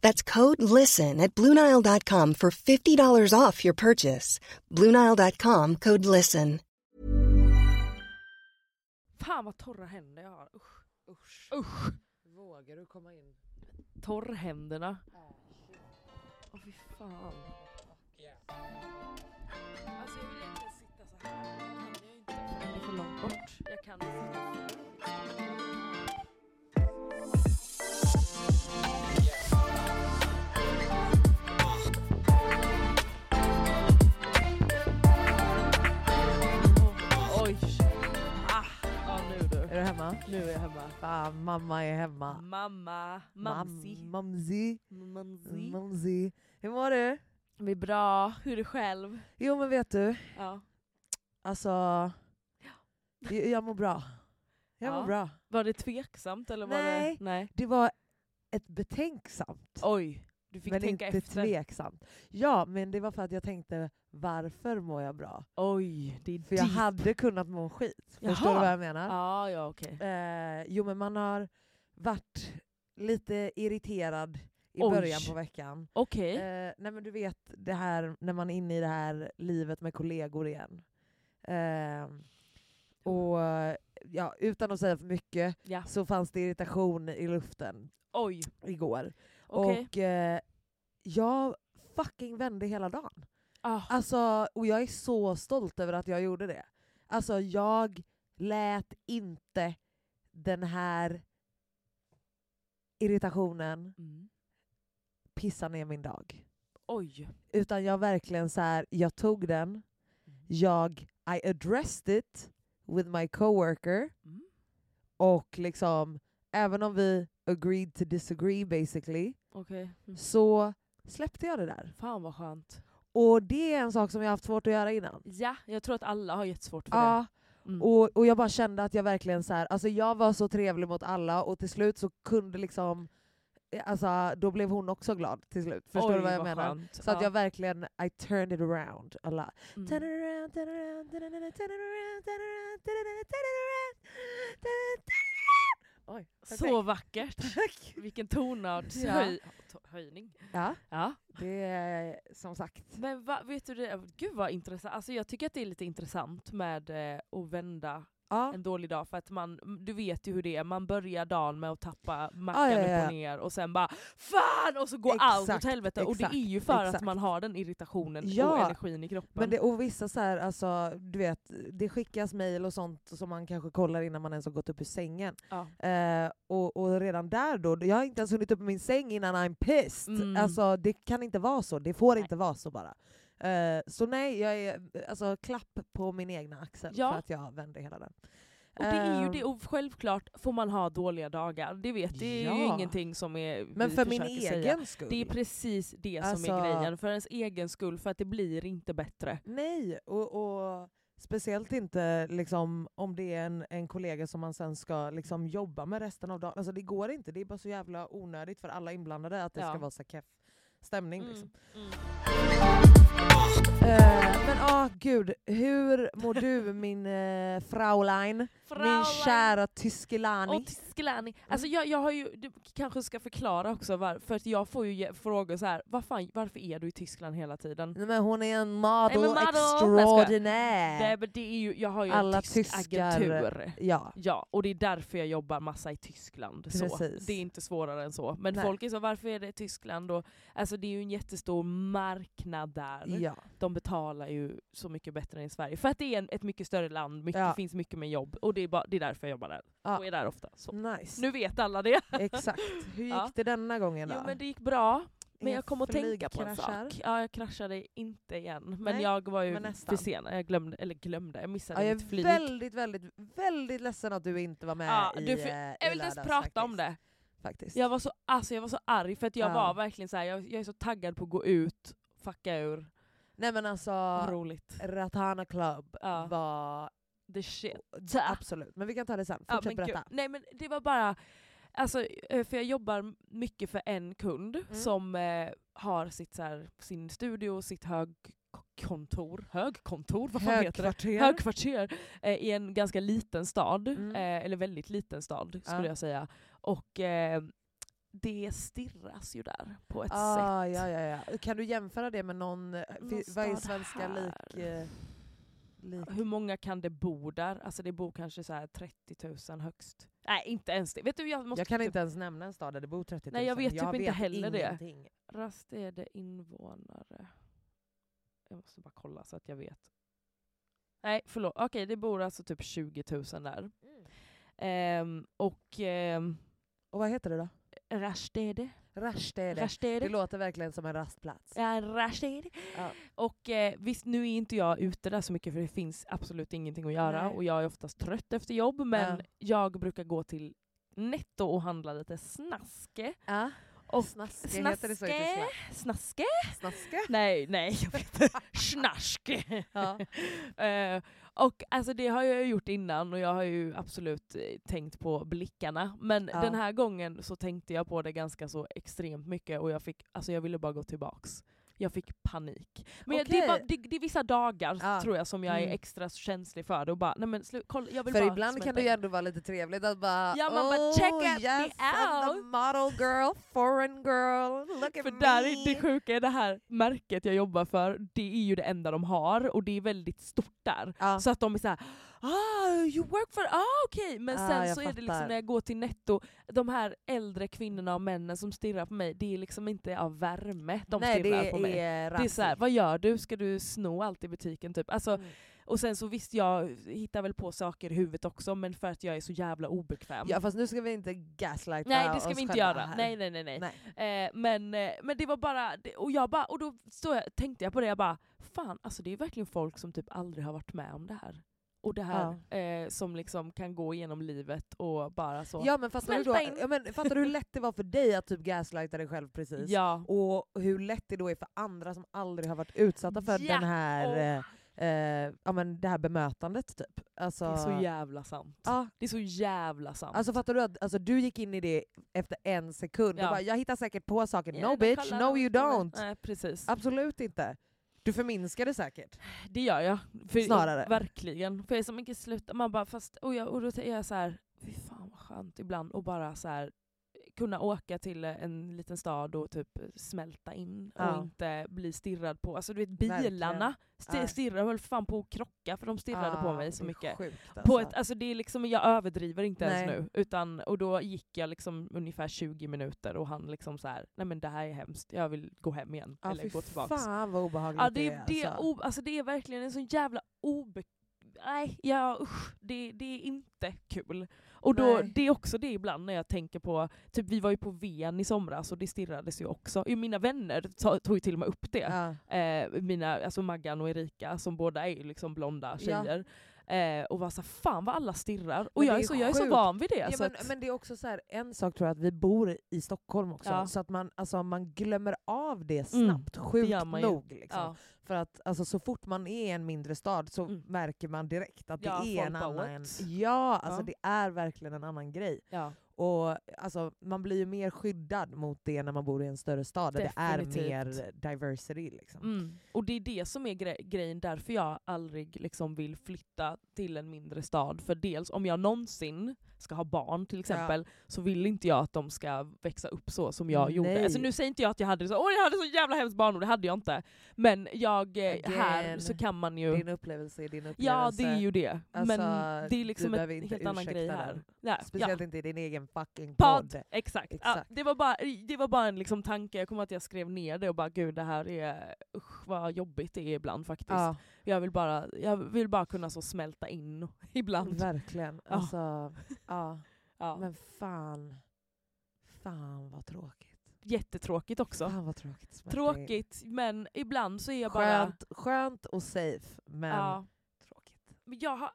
That's code LISTEN at Bluenile.com for $50 off your purchase. Bluenile.com code LISTEN. Fan vad torra händer jag har. Usch. Usch. Vågar du komma in? Torrhänderna. Åh fy fan. Alltså jag vill egentligen sitta så här. men Jag kan ju inte för det är för långt bort. Jag kan inte. Oj. Ah, ja nu du. Är du hemma? Nu är jag hemma. Fan, mamma är hemma. Mamma, mamsi, Mam- Mamsi. mamsi. Mamsi. Hur mår du? Det är bra. Hur är det själv? Jo men vet du, Ja. alltså... Jag, jag mår bra. Jag Ja. mår bra. Var det tveksamt eller var Nej. det... Nej. Det var ett betänksamt. Oj, du fick men tänka inte efter. tveksamt. Ja, men det var för att jag tänkte varför mår jag bra? Oj, det är För jag deep. hade kunnat må skit. Förstår Typ. Jaha. du vad jag menar? Ja, ja okej. Eh, jo men man har varit lite irriterad i Oj. början på veckan. Okej. Eh, nej men du vet det här när man är inne i det här livet med kollegor igen. Eh, Mm. och ja, utan att säga för mycket Ja. så fanns det irritation i luften Oj, igår. okej. Och eh, jag fucking vände hela dagen. Ah, Alltså, och jag är så stolt över att jag gjorde det. Alltså jag lät inte den här irritationen mm. pissa ner min dag. Oj. Utan jag verkligen så här, jag tog Mm. den, jag I addressed it with my coworker Mm. och liksom även om vi agreed to disagree basically Okej. Mm. så släppte jag det där. Fan vad skönt. Och det är en sak som jag haft svårt att göra innan. Ja, jag tror att alla har jättesvårt för Ja, det. Mm. och, och jag bara kände att jag verkligen så här, alltså jag var så trevlig mot alla och till slut så kunde liksom, alltså då blev hon också glad till slut. Förstår Oj, du vad jag menar? Skönt. Så att Ja. jag verkligen, I turned it around a lot. Mm. Turn it around, turn it around, turn it around, turn it around, turn it around, turn it around, turn it around, turn it around. Oj, Så vackert. Tack. Vilken tonartshöjning. Ja. höjning. Ja, Ja. det är som sagt. Men va, vet du, det, gud vad intressant. Alltså jag tycker att det är lite intressant med eh, att vända Ja, en dålig dag. För att man, du vet ju hur det är, man börjar dagen med att tappa Ah, mackan ja, ja, upp ja. och ner och sen bara FAN! Och så går allt åt Exakt, helvete. och det exakt, är ju för att exakt. man har den irritationen och Ja, energin i kroppen. men det, och vissa så här, alltså, du vet, det skickas mejl och sånt som man kanske kollar innan man ens har gått upp ur sängen. ja. Eh, och, och redan där då, jag har inte ens hunnit upp i min säng innan I'm pissed. Mm. Alltså det kan inte vara så, det får Nej. inte vara så bara. Eh, så nej, jag är, alltså klapp på min egna axel Ja. för att jag vände hela den. Och det är ju det, Ehm, och självklart får man ha dåliga dagar. Det vet det är ju Ja. ingenting som är, Men vi för min försöker egen säga. skull. Det är precis det som Alltså- är grejen, för ens egen skull, för att det blir inte bättre. Nej, och, och speciellt inte liksom, om det är en, en kollega som man sen ska liksom, jobba med resten av dagen. Alltså, det går inte, det är bara så jävla onödigt för alla inblandade att det Ja. ska vara så här keff stämning. Mm, Liksom. mm. Eh, men ah, gud, hur mår du min eh, Fraulein? Min kära tyskelani? Och Tiskelani. Alltså jag, jag har ju, du kanske ska förklara också varför, för att jag får ju ge- frågor så här, vad fan, varför är du i Tyskland hela tiden? Nej, men hon är en Nej, model, men model. extraordinär. Nej men det är ju, jag har ju Alla en tysk tyskar- agentur. Ja. Ja, och det är därför jag jobbar massa i Tyskland. Så. Precis. Det är inte svårare än så. Men Nej. folk är så, varför är det Tyskland? Och, alltså det är ju en jättestor marknad där. ja. De betalar ju så mycket bättre än i Sverige. För att det är en, ett mycket större land, mycket, Ja. finns mycket mer jobb. Och det är, bara, det är därför jag jobbar där. Ja. Mm. Och är där ofta. Så. Nice. Nu vet alla det. Exakt. Hur gick Ja. det denna gången då? Jo men det gick bra. Men Inga jag kom att tänka på en flygkraschar? sak. Ja, jag kraschade inte igen. Men Nej, jag var ju men nästan. för sen. Jag glömde, eller glömde, jag Ja, missade jag mitt flyg. är väldigt, väldigt, väldigt ledsen att du inte var med Ja, i, du får- eh, jag i vill inte ens lördags prata faktiskt. om det. Faktiskt. Jag var så, alltså jag var så arg för att jag Ja. var verkligen så här, jag, jag är så taggad på att gå ut, fucka ur. Nej men alltså, Roligt. Ratana Club Ja. var... The shit. Absolut, men vi kan ta det sen. Ja, Fortsätt men gud. berätta. Nej men det var bara, alltså, eh, för jag jobbar mycket för en kund Mm. som eh, har sitt, så här, sin studio och sitt högkontor. Högkontor? Vad fan heter det? Högkvarter. högkvarter eh, i en ganska liten stad, Mm. eh, eller väldigt liten stad skulle Ja. jag säga. Och eh, det stirras ju där på ett Ah, sätt. ja, ja, ja. Kan du jämföra det med någon... eh, Någon fi- vad är stad svenska här. lik... eh, lik Hur många kan det bo där? Alltså det bor kanske så här 30 000 högst. Nej inte ens det. Vet du jag måste jag kan typ- inte ens nämna en stad där det bor 30 000. Nej, jag vet typ inte heller det. ingenting. det. Rastede invånare. Jag måste bara kolla så att jag vet. Nej, förlåt. Okej, det bor alltså typ 20 000 där. Ehm, och ehm, Och vad heter det då? Rastede. Rastede. Det Rastede. låter verkligen som en rastplats. Ja, Rashid. Ja. Och eh, visst, nu är inte jag ute där så mycket för det finns absolut ingenting att göra Nej. och jag är oftast trött efter jobb men Ja. jag brukar gå till Netto och handla lite snaske. Ja. Och snaske, heter det så i Tyskland? Snaske? Snaske? Nej, nej, jag vet inte. Snaske! Ja. Eh, och alltså det har jag ju gjort innan och jag har ju absolut eh, tänkt på blickarna. Men Ja. den här gången så tänkte jag på det ganska så extremt mycket och jag fick, alltså jag ville bara gå tillbaks. Jag fick panik. Men jag, det, Okej. är bara, det, det är vissa dagar Ja. tror jag som jag är Mm. extra känslig för det och bara, nej men slu, kolla, jag vill För bara ibland kan smälta det ju in. ändå vara lite trevligt att bara Ja, man bara, check "Oh, out me yes, I'm the out." model girl, foreign girl, look at För me. där är det sjuka, är det här märket jag jobbar för, det är ju det enda de har och det är väldigt stort där. Ja. Så att de är såhär ah, you work for, ah okej. Men Ah, sen jag så är det liksom fattar. när jag går till Netto, de här äldre kvinnorna och männen som stirrar på mig, det är liksom inte av värme de Nej, stirrar det på mig. Är Det är såhär, vad gör du? Ska du sno allt i butiken typ? Alltså, Mm. Och sen så visst, jag hittar väl på saker i huvudet också men för att jag är så jävla obekväm. Ja fast nu ska vi inte gaslighta Nej det ska oss vi inte själva göra. här. Nej nej nej. nej. Nej. Eh, men, eh, men det var bara, det- och, jag bara, och då stod jag, tänkte jag på det, jag bara fan alltså det är verkligen folk som typ aldrig har varit med om det här. Och det här eh, som liksom kan gå igenom livet och bara så. Ja men fattar du, då, Smälta in. ja, men, fattar du hur lätt det var för dig att typ gaslighta dig själv precis? Ja. Och hur lätt det då är för andra som aldrig har varit utsatta för Ja, den åh. här, eh, eh, ja, men det här bemötandet typ. Alltså, Det är så jävla sant. ja, Det är så jävla sant. Alltså fattar du att alltså, du gick in i det efter en sekund Ja. och bara “jag hittar säkert på saker”. Ja, de no bitch, kollar no runt you på mig. don't. Nej, precis. Absolut inte. Du förminskar det säkert. Det gör jag. För, Snarare. Verkligen. För jag är så mycket slut. Man bara fast, och, jag, och då är jag så här, fy fan vad skönt ibland och bara så här kunna åka till en liten stad och typ smälta in Ja. och inte bli stirrad på. Alltså du vet Verkligen. bilarna sti- Nej. stirrar väl fan på att krocka för de stirrade på Ah, mig så det är mycket. Sjukt, På alltså. ett, alltså det är liksom, jag överdriver inte Nej. ens nu. Utan, och då gick jag liksom ungefär 20 minuter och han liksom så här, nej men det här är hemskt, jag vill gå hem igen. Ja, eller fy gå tillbaks. Fan vad obehagligt Ja, det, det, alltså. är o, alltså, det är verkligen en sån jävla obe... Nej, ja, usch, det, det är inte kul. Och då, Nej. det är också det ibland när jag tänker på, typ vi var ju på VN i somras och det stirrades ju också. Ju, Mina vänner ta- tog ju till och med upp det. Ja. Eh, mina, alltså Maggan och Erika som båda är ju liksom blonda tjejer. Eh, och var så här, fan vad alla stirrar. Och Men jag det är, är så, jag är så sjukt. van vid det. Ja, så men, att, men det är också så här, en sak tror jag att vi bor i Stockholm också, Ja. så att man, alltså, man glömmer av det Mm, snabbt, sjukt gör man ju. nog. Liksom. ja. För att alltså, så fort man är i en mindre stad så Mm. märker man direkt att Ja, det folk är en bara, annan... "What?" Ja, alltså Ja. det är verkligen en annan grej. Ja. Och alltså, man blir ju mer skyddad mot det när man bor i en större stad där det är mer Definitivt. diversity. Liksom. Mm. Och det är det som är gre- grejen, därför jag aldrig liksom vill flytta till en mindre stad. För dels om jag någonsin ska ha barn till exempel, så vill inte jag att de ska växa upp så som jag gjorde. Nej. Alltså nu säger inte jag att jag hade så, Åh, jag hade så jävla hemskt barn och det hade jag inte. Men jag, eh, här Again. så kan man ju... Din upplevelse är din upplevelse. ja det är ju det. Alltså, Men det är du liksom en behöver inte helt annan ursäkta grej den. här. Ja, ja. Speciellt inte i din egen fucking Podd! podd. Exakt. Ja, Exakt. det, var bara, det var bara en liksom tanke, jag kommer att jag skrev ner det och bara gud det här är, usch vad jobbigt det är ibland faktiskt. Ja, Jag vill bara, jag vill bara kunna så smälta in ibland. verkligen. Ja. Alltså, ja. Ja. Men fan. Fan vad tråkigt. Jättetråkigt också. Fan vad tråkigt. Smärta är. Tråkigt, men ibland så är jag bara... Skönt, skönt och safe, men Ja. tråkigt. Men jag har,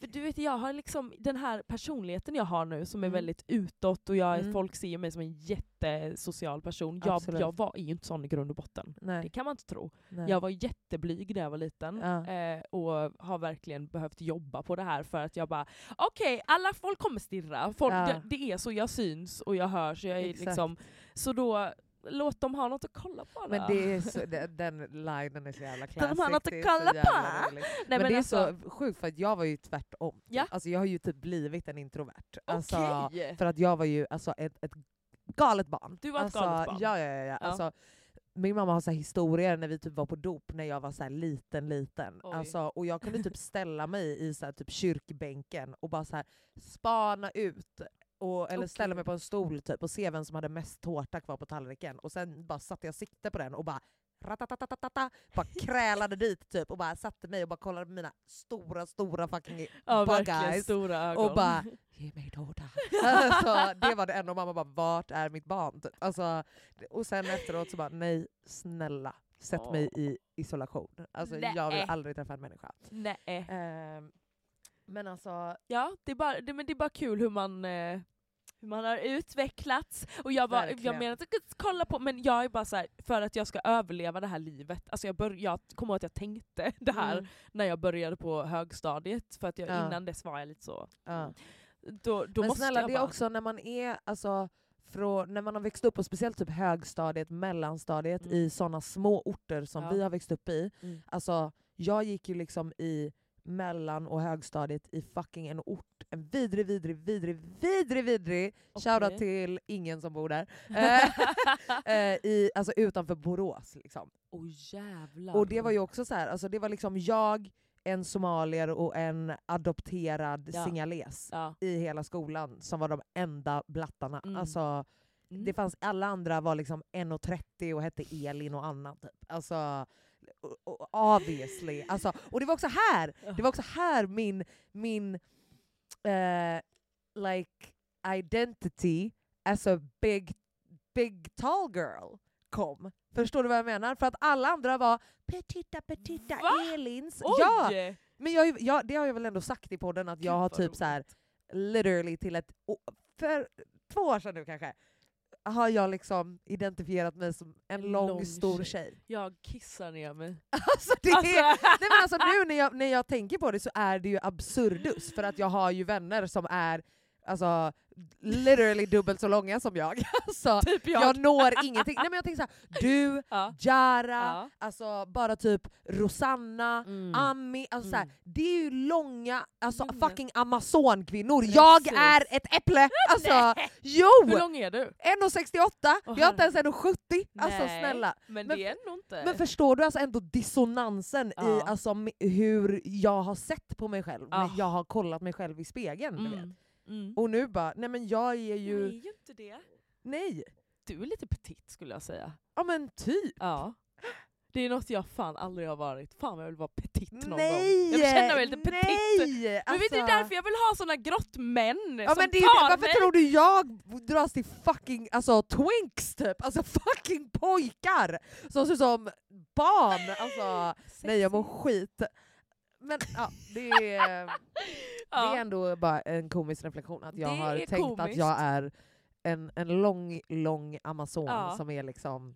för du vet, jag har liksom den här personligheten jag har nu som är Mm. väldigt utåt och jag, Mm. folk ser mig som en jättesocial person. Jag, Absolut. jag var, är ju inte sån i grund och botten. Det Nej, kan man inte tro. nej. Jag var jätteblyg när jag var liten Ja. eh, och har verkligen behövt jobba på det här för att jag bara okej, alla folk kommer stirra. Folk, Ja. det, det är så, jag syns och jag hörs. Jag är Exakt. liksom, så då, låt dem ha något att kolla på. då. men det är så, den, den linen är så jävla har classic. något att det är kolla så jävla på. roligt. Nej, Men, det är alltså, så sjukt för att jag var ju tvärtom. Ja. Alltså, jag har ju typ blivit en introvert. Alltså, Okej! för att jag var ju alltså, ett, ett galet barn. Du var ett alltså, galet barn. Ja, ja, ja, ja. Ja. Alltså, min mamma har så här historier när vi typ var på dop när jag var så här liten liten. Oj. Alltså, och jag kunde typ ställa mig i så här typ kyrkbänken och bara så här spana ut. Och, eller ställa Okej. mig på en stol typ, och se vem som hade mest tårta kvar på tallriken. Och sen bara satte jag sikte på den och bara ratatatatata, bara krälade dit typ och bara satte mig och bara kollade på mina stora stora fucking ja, bug verkligen eyes. stora ögon. Och bara ge mig tårta. alltså, det var det enda och mamma bara vart är mitt barn? Typ. Alltså, och sen efteråt så bara nej snälla sätt mig i isolation. Alltså, jag vill Nej. aldrig träffa en människa. Nej. Ehm, men alltså Ja, det är, bara, det, men det är bara kul hur man, eh, hur man har utvecklats. Och jag, var, jag Verkligen. menar inte att kolla på, men jag är bara så här, för att jag ska överleva det här livet. Alltså jag, bör, jag kommer ihåg att jag tänkte det här Mm, när jag började på högstadiet, för att jag, Ja. innan dess var jag lite så... ja. Då, då Men måste snälla jag det bara, är också när man är alltså, från, när man har växt upp, och speciellt typ högstadiet, mellanstadiet Mm. i sådana små orter som Ja. vi har växt upp i. Mm. Alltså, jag gick ju liksom i mellan och högstadiet i fucking en ort, en vidrig, vidrig, vidrig, vidrig, vidrig, shoutout Okej. till ingen som bor där, Eh, eh, i, alltså utanför Borås. Liksom. Åh jävlar. Och det var ju också så här, alltså det var liksom jag, en somalier och en adopterad Ja. singales Ja. i hela skolan som var de enda blattarna. Mm. Alltså, Mm. det fanns, alla andra var liksom 1,30 och hette Elin och Anna typ. Alltså, o- o- obviously. Alltså, och det var också här, det var också här min, min eh, like identity as a big, big tall girl kom. Förstår du vad jag menar? För att alla andra var petita petita Va? Elins. Oj! Ja, men jag, är ju- jag, det har jag väl ändå sagt i podden att Gud, jag har vad typ så här, literally till ett... å- För två år sedan nu kanske har jag liksom identifierat mig som en En lång, lång stor tjej. tjej. Jag kissar ner mig. Alltså det är, Alltså, nej men alltså nu när jag, när jag tänker på det så är det ju absurdus för att jag har ju vänner som är alltså, literally dubbelt så långa som jag. Alltså, typ jag. jag. når ingenting. Nej men jag tänker såhär, du, Ja. Jara, Ja. alltså bara typ Rosanna, Mm. Ami, alltså såhär, det är ju långa, alltså Men- fucking amazonkvinnor. Precis. Jag är ett äpple! Alltså, jo! Hur lång är du? 1,68, jag är inte ens 1,70. Alltså Nej, snälla. Men, Men- det är nog inte... Men förstår du alltså ändå dissonansen i Ja. alltså, m- hur jag har sett på mig själv Ah. när jag har kollat mig själv i spegeln. Du vet. Mm. Mm. Och nu bara, nej men jag är Nej, ju... ju inte det. Nej! Du är lite petit skulle jag säga. Ja men typ. Ja. Det är något jag fan aldrig har varit. Fan vad jag vill vara petit någon Nej! Alltså- gång. Jag känner mig lite petit. nej! Men vet du, det är därför jag vill ha såna grottmän Ja, som men det är, ju tar det. varför mig. tror du jag dras till fucking alltså, twinks typ? Alltså fucking Alltså, pojkar som ser ut som barn! Alltså, nej jag mår skit. Men ja, det är... Det är Ja. ändå bara en komisk reflektion att jag Det har är tänkt att komiskt. jag är en, en lång, lång amazon Ja. som är liksom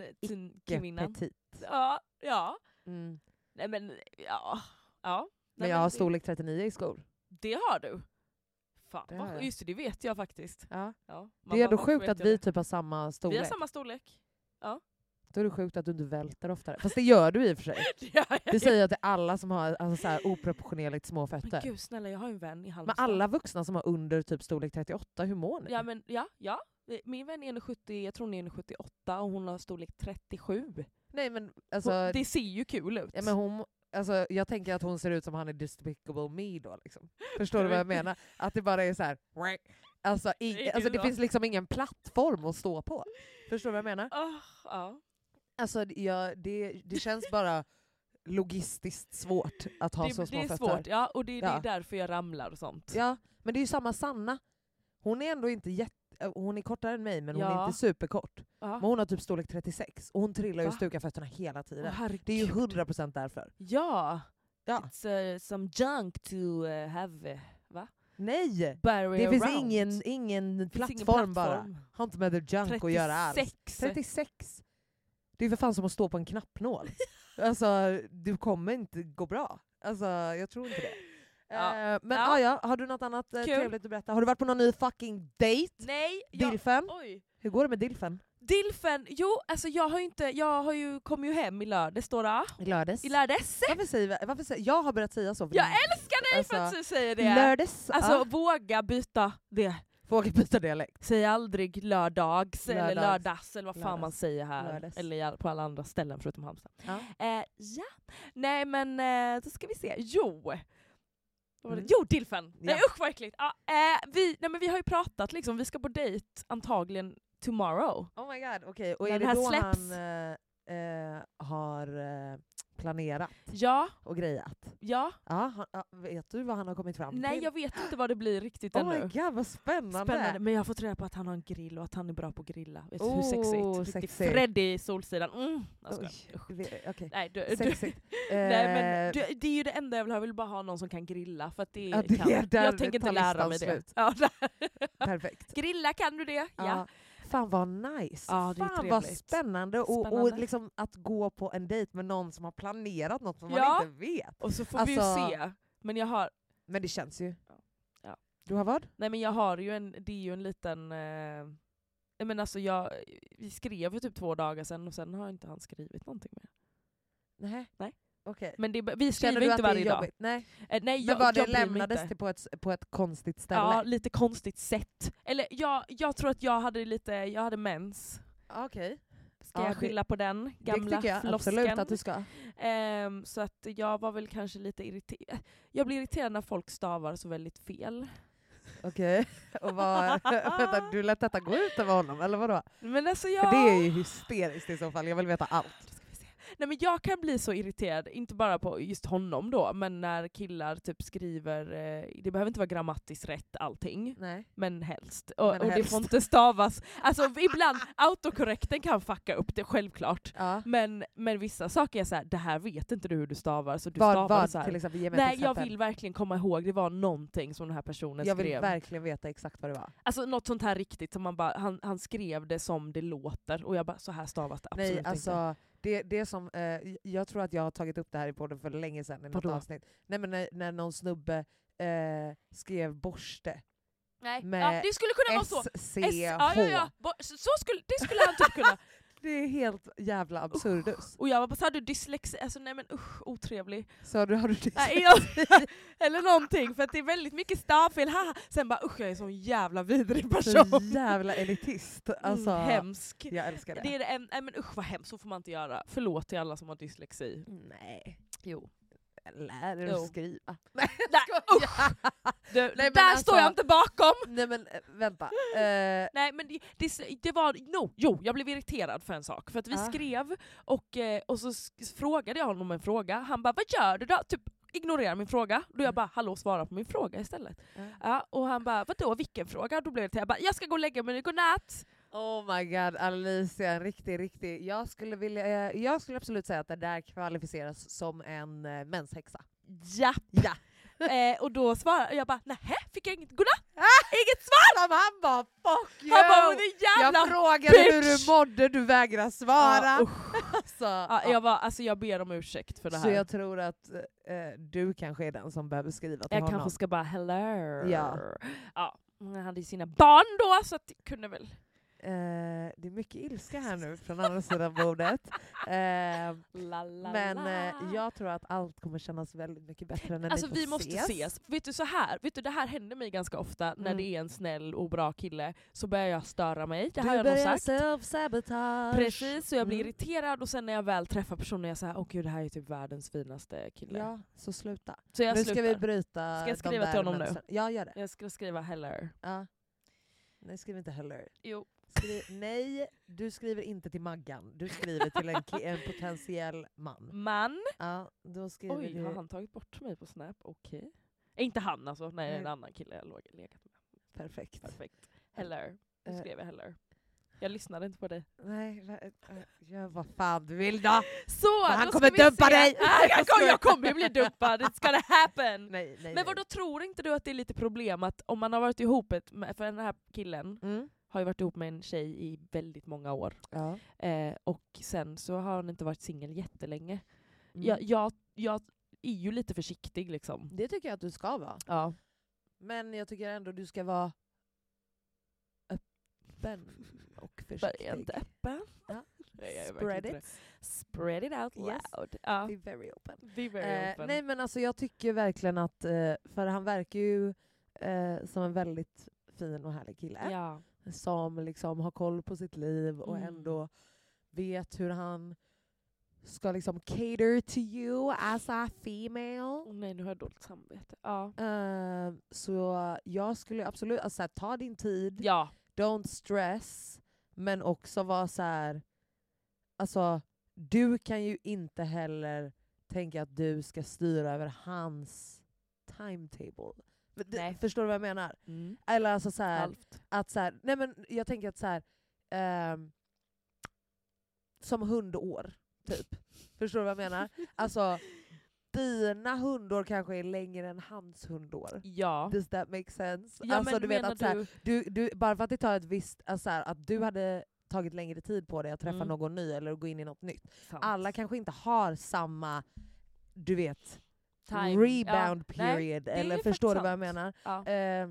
Amazon-kvinnan. petit. Ja, ja. Mm. Nej men ja. ja. Men Nej, jag har det- storlek 39 i skor. Det har du. Fan, Det vad- har jag. just det, det vet jag faktiskt. Ja. Ja, Det är ändå mamma, varför sjukt vet att jag vi det? typ har samma Vi storlek. har samma storlek. Då är det sjukt att du inte välter oftare. Fast det gör du i och för sig. Ja, ja, Det säger jag till alla som har alltså, så här, oproportionerligt små Men fötter. gud snälla, jag har ju en vän i Men Halmstad. alla vuxna som har under typ storlek 38, hur mår ni? Ja, men, ja, ja. Min vän är 1,70, jag tror hon är 1,78 och hon har storlek 37. Hon, Nej men alltså, det ser ju kul ut. Ja, men hon, alltså, jag tänker att hon ser ut som han i Despicable Me då. Liksom. Förstår du vad jag menar? Att det bara är så här. Alltså, Det i, är alltså du det då. finns liksom ingen plattform att stå på. Förstår du vad jag menar? Ah, ja. Alltså, det- jag, det, det känns bara logistiskt svårt att ha så det, små det är fötter. svårt, ja, och det, det Ja. är därför jag ramlar och sånt. Ja, men det är ju samma Sanna. Hon är ändå inte jätte... äh, Hon är kortare än mig men hon är Ja. inte superkort. Ja. Men hon har typ storlek 36 och hon trillar ju Va? stuka fötterna hela Åh, tiden. herregud. Det är ju 100% därför. Ja, Ja. it's uh, some junk to uh, have. Uh, Nej! bury Det finns around. ingen, ingen, Det finns ingen plattform bara. plattform. Har inte med the junk att göra alls. 36. 36! Det är för fan som att stå på en knappnål. alltså, du kommer inte gå bra. Alltså, jag tror inte det. Ja. Eh, men Ja. ja. ja, har du något annat eh, Kul. trevligt att berätta? Har du varit på någon ny fucking date? Nej, jag, Dilfen? oj. Hur går det med Dilfen? Dilfen, jo alltså jag har ju inte, jag har ju, kom ju hem i lördags då. då. I lördags. I lördags! Varför säger, vi- varför säger, jag har börjat säga så. för Jag din- älskar dig för att Alltså, du säger det! Lördags. Alltså ja. våga byta det. Våga byta dialekt. Säg aldrig lördags, eller Lördags. lördags eller vad fan man Lördags. säger här. Lördags. Eller i all- på alla andra ställen förutom Halmstad. Ja. Eh, ja. Nej men eh, då ska vi se. Jo! Vad var det? Mm. Jo, Dilfen! Nej Ja. usch vad äckligt! Ja, eh, vi, nej, men vi har ju pratat liksom, vi ska på dejt antagligen tomorrow. Oh my god, okej. Och När är det det här då släpps. han eh, eh, har eh, planerat Ja, och grejat? ja. Ja, han, ja, vet du vad han har kommit fram Nej till? jag vet inte vad det blir riktigt oh ännu. my god vad spännande! Spännande. Men jag har fått reda på att han har en grill och att han är bra på att grilla. Vet du hur Oh, sexigt? Riktigt sexigt. Freddy i Solsidan. Mm. Jag skojar. Oj, Usch. vi- eh, Okej, Nej, du, du, sexigt. nej, men Eh, du, det är ju det enda jag vill ha. Jag vill bara ha någon som kan grilla. För att det, Ja, det kan. är där jag tänker tar inte lära listan mig det. slut. Ja, nej. Perfekt. grilla, kan du det? Ja. Ja. Fan vad nice! Ja, det är Fan vad trevligt. spännande, Och, och Spännande. liksom att gå på en dejt med någon som har planerat något som Ja. man inte vet. Och så får vi Alltså- ju se. Men jag har, Men det känns ju. Ja. Du har vad? nej men jag har ju en, det är ju en liten... Eh, nej, men alltså jag, vi skrev för typ två dagar sedan och sen har inte han skrivit någonting mer. Nej. Nej. Okej. Men det, vi Känner skriver du ju att inte det varje är dag. jobbigt? Nej. Eh, nej, Men jag, var det jag bryr mig lämnades inte. till på ett, på ett konstigt ställe? Ja, lite konstigt sätt. Eller jag, jag tror att jag hade lite, jag hade mens. Ah, Okej. Ska Ja, jag det- skylla på den gamla det tycker jag floskeln? absolut att du ska. Ehm, så att jag var väl kanske lite irriterad. Jag blir irriterad när folk stavar så väldigt fel. Okej. Och vad, vänta, du lät detta gå ut över honom, eller vadå? Men alltså För jag... det är ju hysteriskt i så fall, jag vill veta allt. Nej men jag kan bli så irriterad, inte bara på just honom då, men när killar typ skriver, eh, det behöver inte vara grammatiskt rätt allting, Nej. men helst. Och, Men och det helst. får inte stavas. Alltså ibland, autokorrekten kan fucka upp det, självklart. Ja. Men, men vissa saker är så här, det här vet inte du hur du stavar, så du Vad, stavar vad så här. till exempel? Ge mig ett Nej, jag exempel. vill verkligen komma ihåg, det var någonting som den här personen jag vill skrev. verkligen veta exakt vad det var. Alltså något sånt här riktigt som man bara, han, han skrev det som det låter och jag bara, så här stavas det absolut Nej, inte. alltså, det, det som, eh, jag tror att jag har tagit upp det här i podden för länge sedan i något Vadå? avsnitt. Nej, men när, när någon snubbe eh, skrev borste. Nej, med ja, det skulle kunna vara så. alltså, S, SCH. ja, ja, ja. Bo- Så så skulle, det skulle han typ kunna. Det är helt jävla absurdus. Och jag var bara, så har du dyslexi? Alltså nej men usch, otrevlig. Så du har du det Nej, jag, eller någonting, för att det är väldigt mycket stavfel. Haha. Sen bara usch, jag är en sån jävla vidrig så person. jävla elitist. Mm, Alltså, mm, hemsk. jag älskar det. Det är det, en- nej men usch vad hemskt, så får man inte göra. Förlåt till alla som har dyslexi. Nej, Jo. lär dig Jo. att skriva. Nej, usch, du, men där alltså- står jag inte bakom! Nej men eh, vänta. Eh, Nej men det, det, det var, no, jo jag blev irriterad för en sak. För att vi Ah. skrev och, eh, och så sk- frågade jag honom en fråga, han bara vad gör du då? Typ ignorerar min fråga. Då Mm. jag bara hallå svara på min fråga istället. Ah. Ja, och han bara vadå vilken fråga? Då blev det till jag bara jag ska gå och lägga mig, godnatt! oh my god Alicia, en riktig, riktig. Jag skulle, vilja, eh, jag skulle absolut säga att det där kvalificeras som en eh, menshäxa. japp. Ja. Eh, och då svarade jag bara nähä, fick jag inget godnatt? Inget svar! Som han bara fuck you! Han bara men det jag jävla... frågade bitch!" hur du mådde, du vägrar svara. Ja, usch. alltså, ja, jag, var, alltså, jag ber om ursäkt för det Så här. jag tror att eh, du kanske är den som behöver skriva till Jag honom. kanske ska bara hello. Ja. ja. Han hade ju sina barn då så att det kunde väl... Eh, det är mycket ilska här nu från andra sidan bordet. Eh, La, la, men la. eh, jag tror att allt kommer kännas väldigt mycket bättre när Alltså ni får vi måste ses. Vet du så här, vet du det här händer mig ganska ofta när Mm. det är en snäll och bra kille så börjar jag störa mig, det du har jag nog börjar sagt. self-sabotage. Precis, så jag blir Mm. irriterad och sen när jag väl träffar personen är jag såhär, åh gud det här är typ världens finaste kille. Ja, så sluta. Så jag nu slutar. ska vi bryta Ska jag de skriva där till honom nu? mönstren. Ja, gör det. jag ska skriva heller. Ja. Nej, skriv inte heller. Jo. Skriv, nej, du skriver inte till Maggan. Du skriver till en, ki- en potentiell man. Man. Ja, då skriver Oj, du... har han tagit bort mig på Snap? Okej. Eh, Inte han alltså, nej Nej. en annan kille jag låg legat med. Perfekt. Perfekt. Heller. Nu Eh. skrev jag heller. Jag lyssnade inte på dig. Nej, va- eh, gör vad fan du vill då. Så! Men han då kommer ska vi dumpa se. dig! Nej, jag, kommer, jag kommer ju bli dumpad, it's gonna happen! Nej, nej, Men nej. vadå, tror inte du att det är lite problem att om man har varit ihop, ett, för den här killen Mm. har ju varit ihop med en tjej i väldigt många år, Ja. eh, och sen så har han inte varit singel jättelänge. Mm. Jag, jag, jag är ju lite försiktig liksom. Det tycker jag att du ska vara. Ja. Men jag tycker ändå du ska vara öppen och Börja inte försiktig. öppen. Ja. Nej, jag är verkligen Spread inte it. det. Spread it out Yes. loud. Ja. Be very open. Be very Eh, open. nej men alltså jag tycker verkligen att, eh, för han verkar ju eh, som en väldigt fin och härlig kille. ja. Som liksom har koll på sitt liv och Mm. ändå vet hur han ska liksom cater to you as a female. Åh, nej, nu har jag dåligt samvete. Ja. Eh, så jag skulle absolut, alltså, så här, ta din tid, Ja. don't stress, men också vara så här. alltså du kan ju inte heller tänka att du ska styra över hans timetable. Men du- Nej. Förstår du vad jag menar? Eller alltså så här, Halvt. att så här, nej men jag tänker att så här, ehm, som hundår, typ. Förstår du vad jag menar? Alltså, dina hundår kanske är längre än hans hundår. Ja. Does that make sense? ja alltså, men du vet menar att, så här, du- du, du, bara för att det tar ett visst, alltså, så här, att du hade tagit längre tid på dig att träffa Mm. någon ny eller att gå in i något nytt. Sant. Alla kanske inte har samma, du vet, Time. rebound Ja, nej, period. är eller ju förstår du faktiskt vad jag sant. ja. menar? Eh,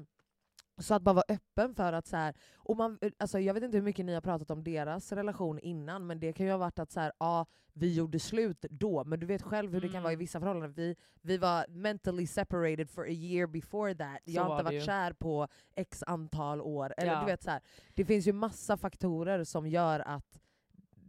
så att bara vara öppen för att så här, och man, alltså jag vet inte hur mycket ni har pratat om deras relation innan, men det kan ju ha varit att så här, ja, vi gjorde slut då, men du vet själv hur det kan vara i Mm. vissa förhållanden. Vi, vi var mentally separated for a year before that. Så Jag har var inte det varit ju. kär på x antal år. Eller Ja. du vet så här, Det finns ju massa faktorer som gör att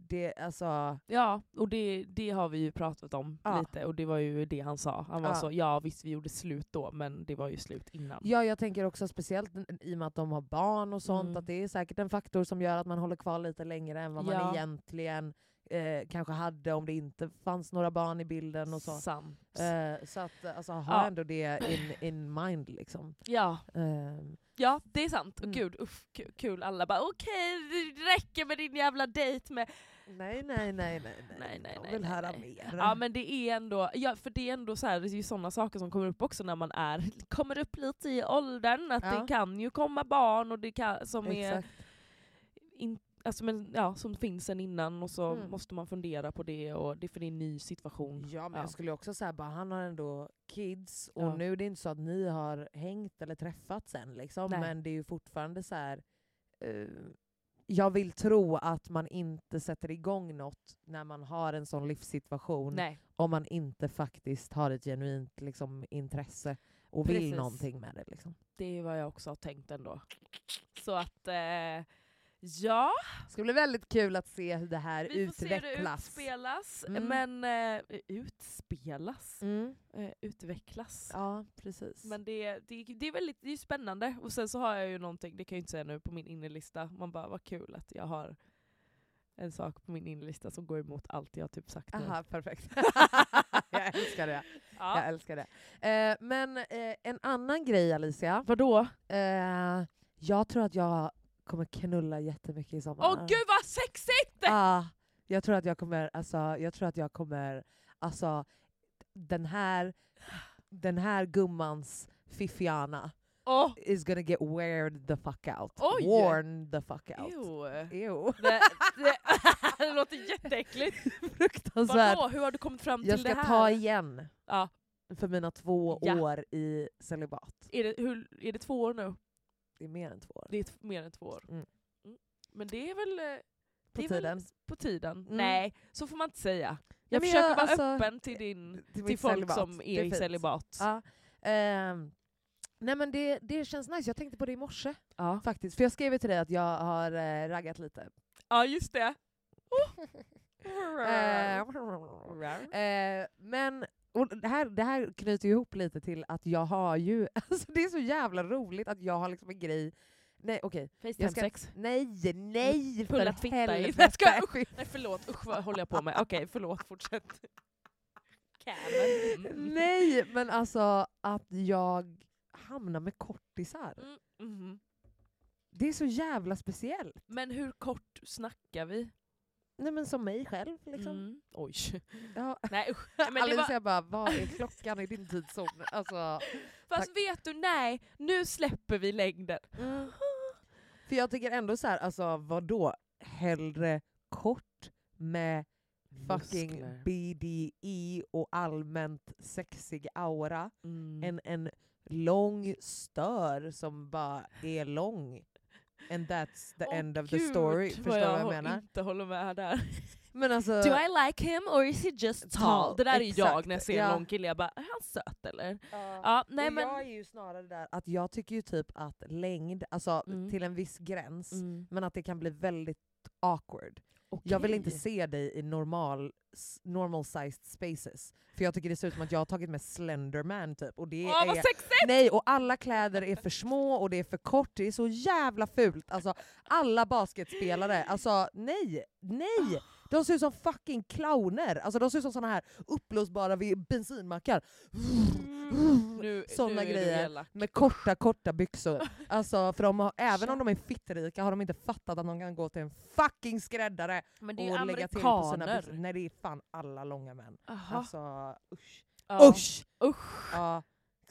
det, alltså, Ja, och det, det har vi ju pratat om Ja. lite och det var ju det han sa. Han var Ja. så, ja visst vi gjorde slut då men det var ju slut innan. ja, jag tänker också speciellt i och med att de har barn och sånt, Mm. att det är säkert en faktor som gör att man håller kvar lite längre än vad Ja. man egentligen eh, kanske hade om det inte fanns några barn i bilden och så. Sant. Eh, så att eh, alltså, ha Ja. ändå det in, in mind liksom. Ja, Ehm, ja, det är sant. Mm. Gud, uff, ku- kul. Alla bara okej, det räcker med din jävla dejt med... nej, nej, nej, nej, Nej, nej, De nej, vill nej, höra nej. mer. Ja men det är ändå, ja, för det är ändå så här, det är ju sådana saker som kommer upp också när man är, kommer upp lite i åldern, att Ja. det kan ju komma barn och det kan, som är, Exakt. in, alltså, men, ja, som finns sen innan och så Mm. måste man fundera på det och det för det är en ny situation. Ja, men Ja. jag skulle också säga bara han har ändå kids och Ja. nu är det inte så att ni har hängt eller träffats än liksom, Nej. men det är ju fortfarande så här. eh, jag vill tro att man inte sätter igång något när man har en sån livssituation Nej. om man inte faktiskt har ett genuint liksom, intresse och vill Precis. någonting med det. Liksom. Det är vad jag också har tänkt ändå. Så att, eh, ja, Det ska bli väldigt kul att se hur det här vi får se hur det utvecklas. utspelas. Mm. Men, eh, utspelas? mm. Eh, utvecklas. Ja, precis. Men det, det, det är väldigt det är ju spännande. Och sen så har jag ju någonting, det kan jag ju inte säga nu, på min innerlista. Man bara, vad kul att jag har en sak på min innerlista som går emot allt jag typ sagt nu. Aha, perfekt. jag älskar det. Ja. Jag älskar det. Eh, men eh, en annan grej Alicia. Vadå? Eh, jag tror att jag kommer knulla jättemycket i sommar. Åh gud vad sexigt! Ja, jag tror att jag kommer, alltså, jag tror att jag kommer, alltså den här, den här gummans fiffiana Åh! is gonna get weared the fuck out. Oj! Worn the fuck out. Ew. Ew. Det, det, det låter jätteäckligt. Fruktansvärt. Vadå, hur har du kommit fram till Alltså, Jag ska det här? ta igen Ja. för mina två Ja. år i celibat. Är, det, hur, är det två år nu? Det är mer än två år. Det är t- mer än två år. Mm. Mm. Men det är väl... eh, På det är tiden. Väl på tiden. Mm. Nej, så får man inte säga. Jag men försöker jag- vara alltså, öppen till, din, Mm. till mitt folk celibat. som Det är i fint. celibat. Ja. Ehm, nej men det, det känns nice, jag tänkte på det i morse Ja. faktiskt. För jag skrev ju till dig att jag har eh, raggat lite. ja, just det. Eh, eh, men och det, här, det här knyter ju ihop lite till att jag har ju... Alltså det är så jävla roligt att jag har liksom en grej... Nej okej, Jag ska- Facetime-sex. nej, nej för Mm. Pulla Twitter i- helvete. Jag skojar, Nej förlåt, usch vad håller jag på med? Okej, förlåt, fortsätt. Camen. Mm. Nej, men alltså att jag hamnar med kortisar. Mm, mhm. Det är så jävla speciellt. Men hur kort snackar vi? Nej men som mig själv liksom. Mm. Oj. Ja. Nej usch. Nej, Men det Alice var, jag bara, vad är klockan i din tidszon? Alltså, fast vet du, nej, nu släpper vi längden. För jag tycker ändå så här, alltså vadå? Hellre kort med fucking Muskler. BDI och allmänt sexig aura Mm. än en lång stör som bara är lång. And that's the Åh, end of the gud, story. Förstår du vad jag hå- menar? inte håller med där. Men alltså, Do I like him or is he just tall? Tall, Det där är ju jag exakt, när jag ser en ja. lång kille, jag bara, är han söt eller? ja. Ja, nej och Jag men... är ju snarare där att jag tycker ju typ att längd, alltså Mm. till en viss gräns, Mm. men att det kan bli väldigt awkward. Jag vill inte se dig i normal, s- normal sized spaces. För jag tycker det ser ut som att jag har tagit med Slenderman typ. Och det Åh vad är, sexigt! nej, och alla kläder är för små och det är för kort, det är så jävla fult. Alltså alla basketspelare, alltså nej, nej! De ser ut som fucking clowner, alltså de ser ut som såna här uppblåsbara vid bensinmackar. Mm. Nu, Såna nu är du grejer. elak. Med korta, korta byxor. Alltså, för de har, även om de är fittrika har de inte fattat att de kan gå till en fucking skräddare Men det är ju och lägga till på sina byxor. amerikaner. Nej det är fan alla långa män. Aha. Alltså usch. Ja. Usch! Usch! Ja,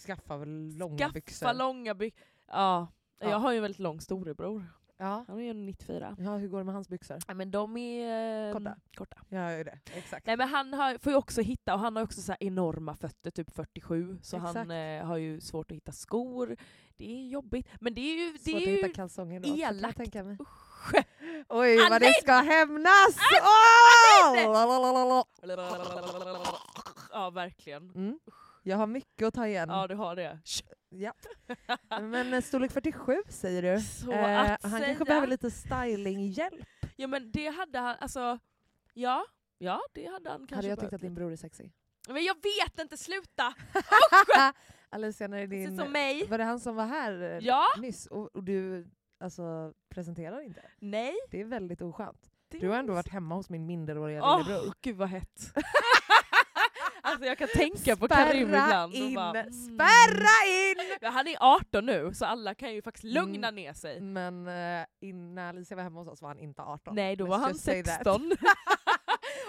skaffa väl långa Skaffa byxor. långa byxor. Ja. Ja. Jag har ju en väldigt lång storebror. ja. Han är ju 94. ja, hur går det med hans byxor? Nej, men de är... eh, Korta. korta. Ja, jag gör det. Exakt. Nej men han har, får ju också hitta, och han har också så här enorma fötter, typ 47. Så han Exakt. eh, har ju svårt att hitta skor. Det är jobbigt. Men det är ju... Det Svårt att är ju hitta kalsonger då. så kan jag elakt. tänka mig. Usch. Ah, Oj vad Använd! det ska hämnas! Använd! Åh! Lalalala. Ja verkligen. Mm. Jag har mycket att ta igen. Ja du har det. Ja. Men eh, storlek 47 säger du. Så Eh, att han säga. kanske behöver lite stylinghjälp. Ja men det hade han, alltså... Ja, ja det hade han kanske. Hade jag behövt. tyckt att din bror är sexig? Men jag vet inte, sluta! Alicia, när är Det din... som mig. Var det han som var här eh, Ja, nyss och, och du alltså, presenterar inte? nej. Det är väldigt oskönt. det Du har ändå är- varit hemma hos min minderåriga Åh, lillebror. gud vad hett. alltså jag kan tänka på Karim Spärra ibland. och in, bara, mm. Spärra in! Ja, Han är 18 nu, så alla kan ju faktiskt lugna Mm. ner sig. Men eh, in, när Alicia var hemma hos oss var han inte 18. Nej, då Let's var han just say that. 16.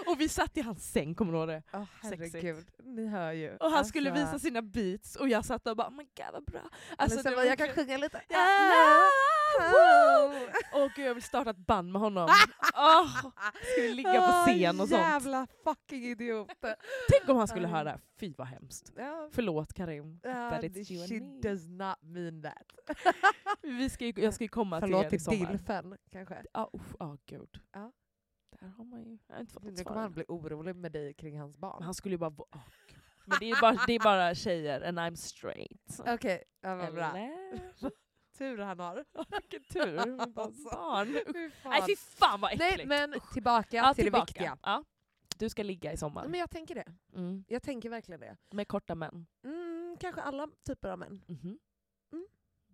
och vi satt i hans säng, kommer du ihåg det? Åh Sexigt. herregud, ni hör ju. Och han skulle Alltså, visa sina beats och jag satt där och bara oh my god vad bra. Alltså, Alicia det bara, var jag kan kul." sjunga lite. Ja, Ah, la, woo! wow. Åh gud jag vill starta ett band med honom. Ah. Åh, ska vi ligga på Åh, scen och sånt? Ah, Jävla fucking idiot. Tänk om han Ah. skulle höra det här, fy vad hemskt. Ja, Förlåt Karim, ja, but Ah, det- it's you she and me. does not mean that. Vi ska ju, jag ska ju komma Förlåt till er i till sommar. Dilfen kanske. Ja, usch, ja gud. Ja. Där har man ju... Jag har inte fått något Nu svar. kommer han Han, bli orolig med dig kring hans barn. han skulle ju bara... Oh, gud. Men det är, ju bara, det är bara tjejer, and I'm straight. Okej, ja, vad bra. Eller? Tur han har. Vilken tur. men bara Alltså. Barn. Usch. Fy fan. Nej fy fan vad äckligt. Nej men tillbaka Ja, till tillbaka. det viktiga. Ja. Du ska ligga i sommar. Men jag tänker det. Mm. Jag tänker verkligen det. Med korta män. Mm, kanske alla typer av män. Mhm. Mm.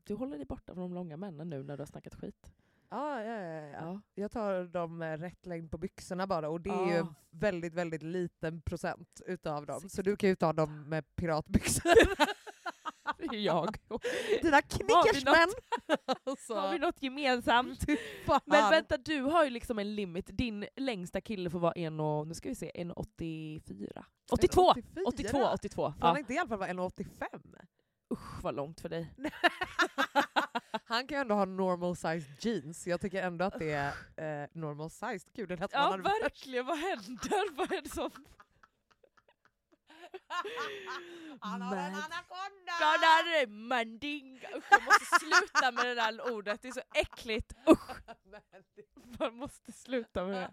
Du håller dig borta från de långa männen nu när du har snackat skit. Ja, ja, ja, ja. Jag tar dem med rätt längd på byxorna bara och det är ju Ja. väldigt, väldigt liten procent utav dem. Så Sexigt. du kan ju ta dem med piratbyxor. Det är jag. Dina något? knickersmän! Har vi alltså, något gemensamt? fan. Men vänta, du har ju liksom en limit. Din längsta kille får vara en och, nu ska vi se, en 84. 82! 84. 82, 82. Får han Ja. inte i alla fall vara 1,85? Usch vad långt för dig. Han kan ju ändå ha normal sized jeans. Jag tycker ändå att det är eh, normal sized. Gud, det lät som Ja man hade- verkligen, vad händer? Vad är det som... Han har en Mad- anakonda! Skadar mandinga. Usch jag måste sluta med det där ordet, det är så äckligt. Usch! Man måste sluta med det.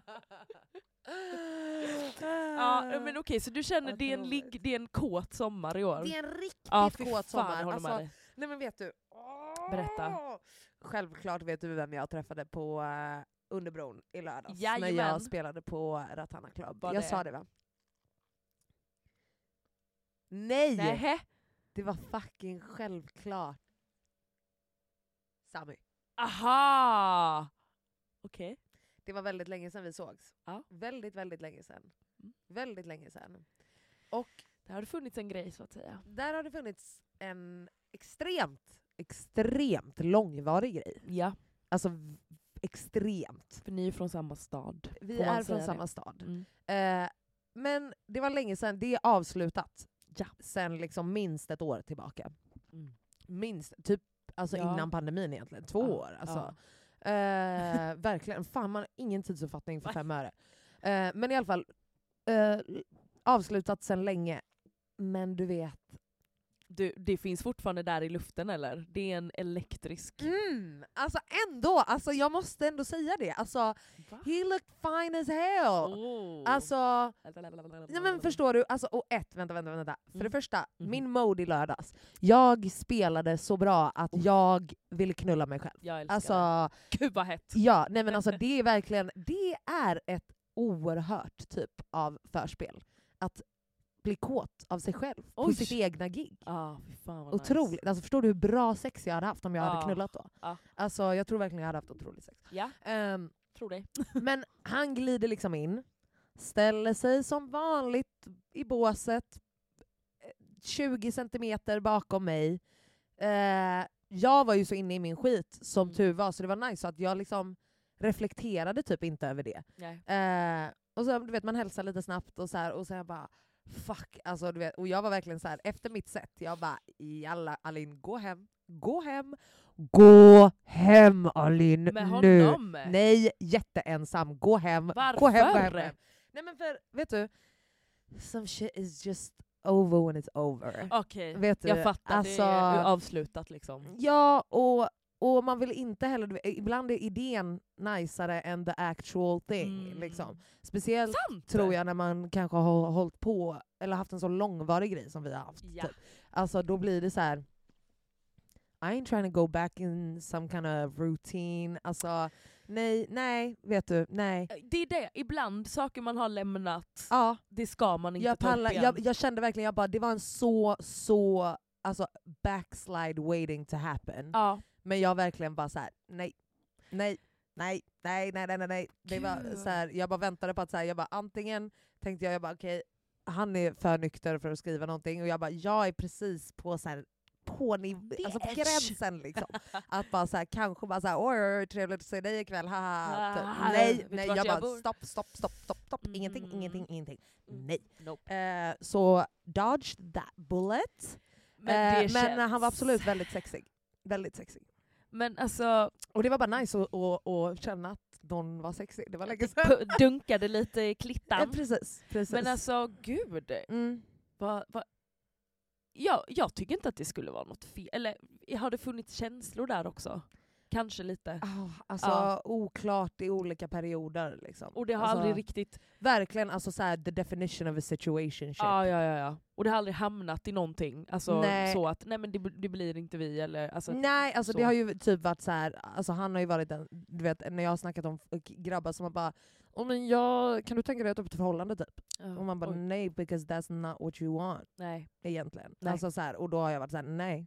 Ja eh, men okej, så du känner Ah. Vad det är, en ligg, roligt. det är en kåt sommar i år? Det är en riktigt Ja, fy fan, kåt sommar. jag håller med Alltså, dig. nej men vet du. Åh! Berätta. Självklart vet du vem jag träffade på eh, Underbron i lördags. När Jajamän. jag spelade på Ratana Club. Var jag det- sa det va? Nej! Nähä. Det var fucking självklart. Sammy. Aha! Okej. Det var väldigt länge sedan vi sågs. Ja. Väldigt, väldigt länge sedan. Mm. Väldigt länge sedan. Och Det har funnits en grej så att säga. där har det funnits en extremt, extremt långvarig grej. Ja, Alltså v- extremt. för ni är från samma stad. Vi Får man är från säga samma det? stad. Mm. Eh, men det var länge sedan, det är avslutat. Ja. Sen liksom minst ett år tillbaka. Mm. Minst, typ alltså Ja. innan pandemin egentligen. Två Ja, år. Alltså. ja. Eh, verkligen. Fan, man har ingen tidsuppfattning för fem öre. Eh, men i alla fall, eh, avslutat sedan länge. Men du vet... Du, det finns fortfarande där i luften eller? Det är en elektrisk... Mm, alltså ändå, alltså jag måste ändå säga det. Alltså, he looked fine as hell! Oh. Alltså, nej men förstår du? Alltså, och ett, vänta, vänta, vänta. För Mm. det första, Mhm. min mode i lördags. Jag spelade så bra att jag ville knulla mig själv. Jag Oh. älskar det. Alltså, Gud vad hett. Ja, nej men alltså det är verkligen, det är ett oerhört typ av förspel. Att bli kåt av sig själv på Oj. sitt egna gig. Ah, fy fan vad Otroligt. Nice. Alltså förstår du hur bra sex jag hade haft om jag Ja. hade knullat då? Ja. Alltså jag tror verkligen jag hade haft otroligt sex. Ja, Ehm, tror dig. men han glider liksom in, ställer sig som vanligt i båset, eh, 20 centimeter bakom mig. Eh, jag var ju så inne i min skit som Mm. tur var, så det var nice så att jag liksom reflekterade typ inte över det. Nej. Eh, och så, du vet, man hälsar lite snabbt och så här, och så jag bara fuck. Alltså, du vet, och jag var verkligen så här efter mitt set, jag bara jalla Alin, gå hem, gå hem, gå hem Alin Med nu. honom? Nej, jätteensam. Gå hem. Gå Varför? hem, gå hem, gå hem. Nej men för, vet du? Some shit is just over when it's over. Okej, Vet du? jag fattar. Alltså, Mm. Det är avslutat liksom. ja, och, och man vill inte heller... du vet, Ibland är idén najsare än the actual thing. Mm. Liksom. Speciellt Sant! tror jag när man kanske har hållit på eller haft en så långvarig grej som vi har haft. Ja. Typ. Alltså då blir det så här. I ain't trying to go back in some kind of routine. Alltså nej, nej, vet du, nej. Det är det, ibland saker man har lämnat, Ja, det ska man inte jag, ta upp pallar, igen. jag, jag kände verkligen, jag bara, det var en så, så alltså, backslide waiting to happen. ja. Men jag verkligen bara så här: nej, nej, nej, nej, nej, nej, nej, nej. Det var Gud. så här, jag bara väntade på att så här, jag bara, antingen tänkte jag, jag bara okej, han är för nykter för att skriva någonting och jag bara, jag är precis på så här, på, niv- alltså på Bitch. gränsen liksom. Att bara så här, kanske bara såhär oj, oj, trevligt att se dig ikväll, haha. Ah, Typ. Nej, vet du nej, vart jag jag bara bor? stopp, stopp, stopp, stopp, stopp, ingenting, Mm. ingenting, ingenting. Mm. Nej. Nope. Eh, så dodge that bullet. Men, det eh, men eh, han var känns. absolut väldigt sexig. Väldigt sexig. Men alltså, Och det var bara nice att, att, att känna att någon var sexig. Det var länge sedan. pu- dunkade lite i Eh, klittan. precis, precis. Men alltså gud, mm. vad, vad... Ja, jag tycker inte att det skulle vara något fel. Eller har det funnits känslor där också? Kanske lite. Ah, alltså Ja. oklart i olika perioder. Liksom. Och det har alltså, aldrig riktigt... Verkligen alltså, så här, the definition of a situation. Ja, ja, ja, ja. Och det har aldrig hamnat i någonting. Alltså Nej. så att nej men det, bl- det blir inte vi eller... Alltså, Nej, alltså det så. har ju typ varit så här, alltså han har ju varit den, du vet när jag har snackat om f- grabbar som har bara oh, men jag, kan du tänka dig att ha ett förhållande typ? Ja, Och man bara oj, nej because that's not what you want nej. egentligen. Nej. Alltså, så här, och då har jag varit så här: nej,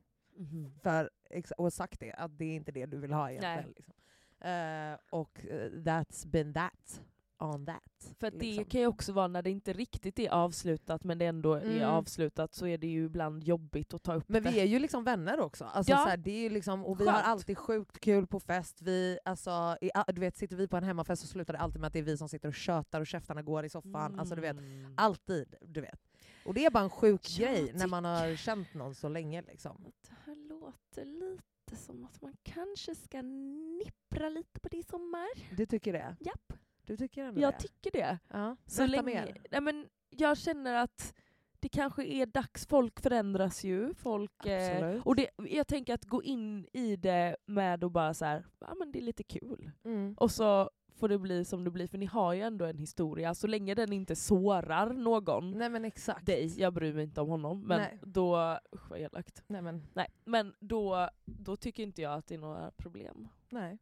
för, ex- och sagt det, att det är inte det du vill ha egentligen. Liksom. Eh, och eh, that's been that. on that. För att det liksom. kan ju också vara när det inte riktigt är avslutat men det ändå är Mm. avslutat så är det ju ibland jobbigt att ta upp Men det. vi är ju liksom vänner också. Alltså, Ja. så här, det är ju liksom, och vi har Skönt. alltid sjukt kul på fest. Vi, alltså, i, du vet, sitter vi på en hemmafest så slutar det alltid med att det är vi som sitter och tjötar och käftarna går i soffan. Alltså, du vet, Mm. alltid. Du vet. Och det är bara en sjuk Jag grej när man har tycker- känt någon så länge. Liksom. Det här låter lite som att man kanske ska nippra lite på det i sommar. Du tycker det? Japp, Du tycker ändå jag det? tycker det. ja. Så Berätta länge, mer. Nej, men jag känner att det kanske är dags, folk förändras ju. Folk, eh, Absolut. och det, jag tänker att gå in i det med och bara så här, ja men det är lite kul. Mm. Och så får det bli som det blir, för ni har ju ändå en historia. Så länge den inte sårar någon, Nej men exakt. dig, jag bryr mig inte om honom, men Nej. då, usch vad elakt. Nej, men, Nej, men då, då tycker inte jag att det är några problem. nej.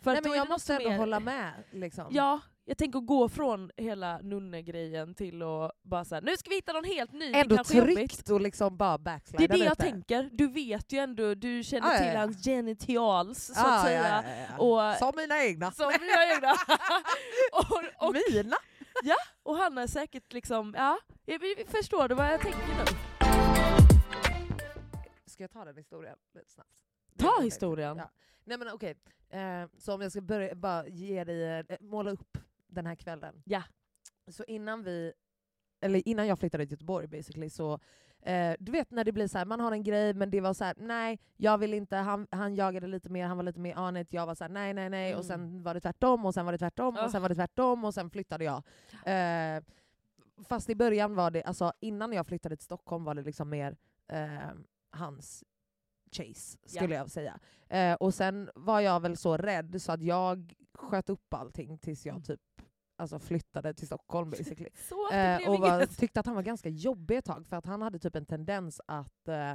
För nej att då men är jag det något måste som ändå är- hålla med. Liksom. Ja, jag tänker gå från hela nunnegrejen till att bara såhär, nu ska vi hitta någon helt ny, det ändå kanske är jobbigt." tryggt och liksom bara Det backslida är det jag lite. Ah, tänker, du vet ju ändå, du känner Ja, ja, till ja. hans genitals så Ah, Ja, att säga. ja, ja, ja. Och- Som mina egna. Som jag gjorde. och, och, Mina? och han är säkert liksom, ja, jag, vi förstår du vad jag tänker nu? Ska jag ta den historien lite snabbt? Ta historien. Ja. Nej men okej, eh, så om jag ska börja, bara ge dig, eh, måla upp den här kvällen. Ja. Så innan vi, eller innan jag flyttade till Göteborg basically, så eh, du vet när det blir så här, man har en grej men det var så här: nej jag vill inte, han, han jagade lite mer, han var lite mer anet, jag var så här, nej nej nej och Mm. sen var det tvärtom och sen var det tvärtom Ah. och sen var det tvärtom och sen flyttade jag. Eh, fast i början var det, alltså innan jag flyttade till Stockholm var det liksom mer eh, hans chase skulle jag säga. Eh, och sen var jag väl så rädd så att jag sköt upp allting tills jag Mm. typ alltså flyttade till Stockholm basically. Så att det Eh, blev och var, inget. tyckte att han var ganska jobbig ett tag för att han hade typ en tendens att, eh,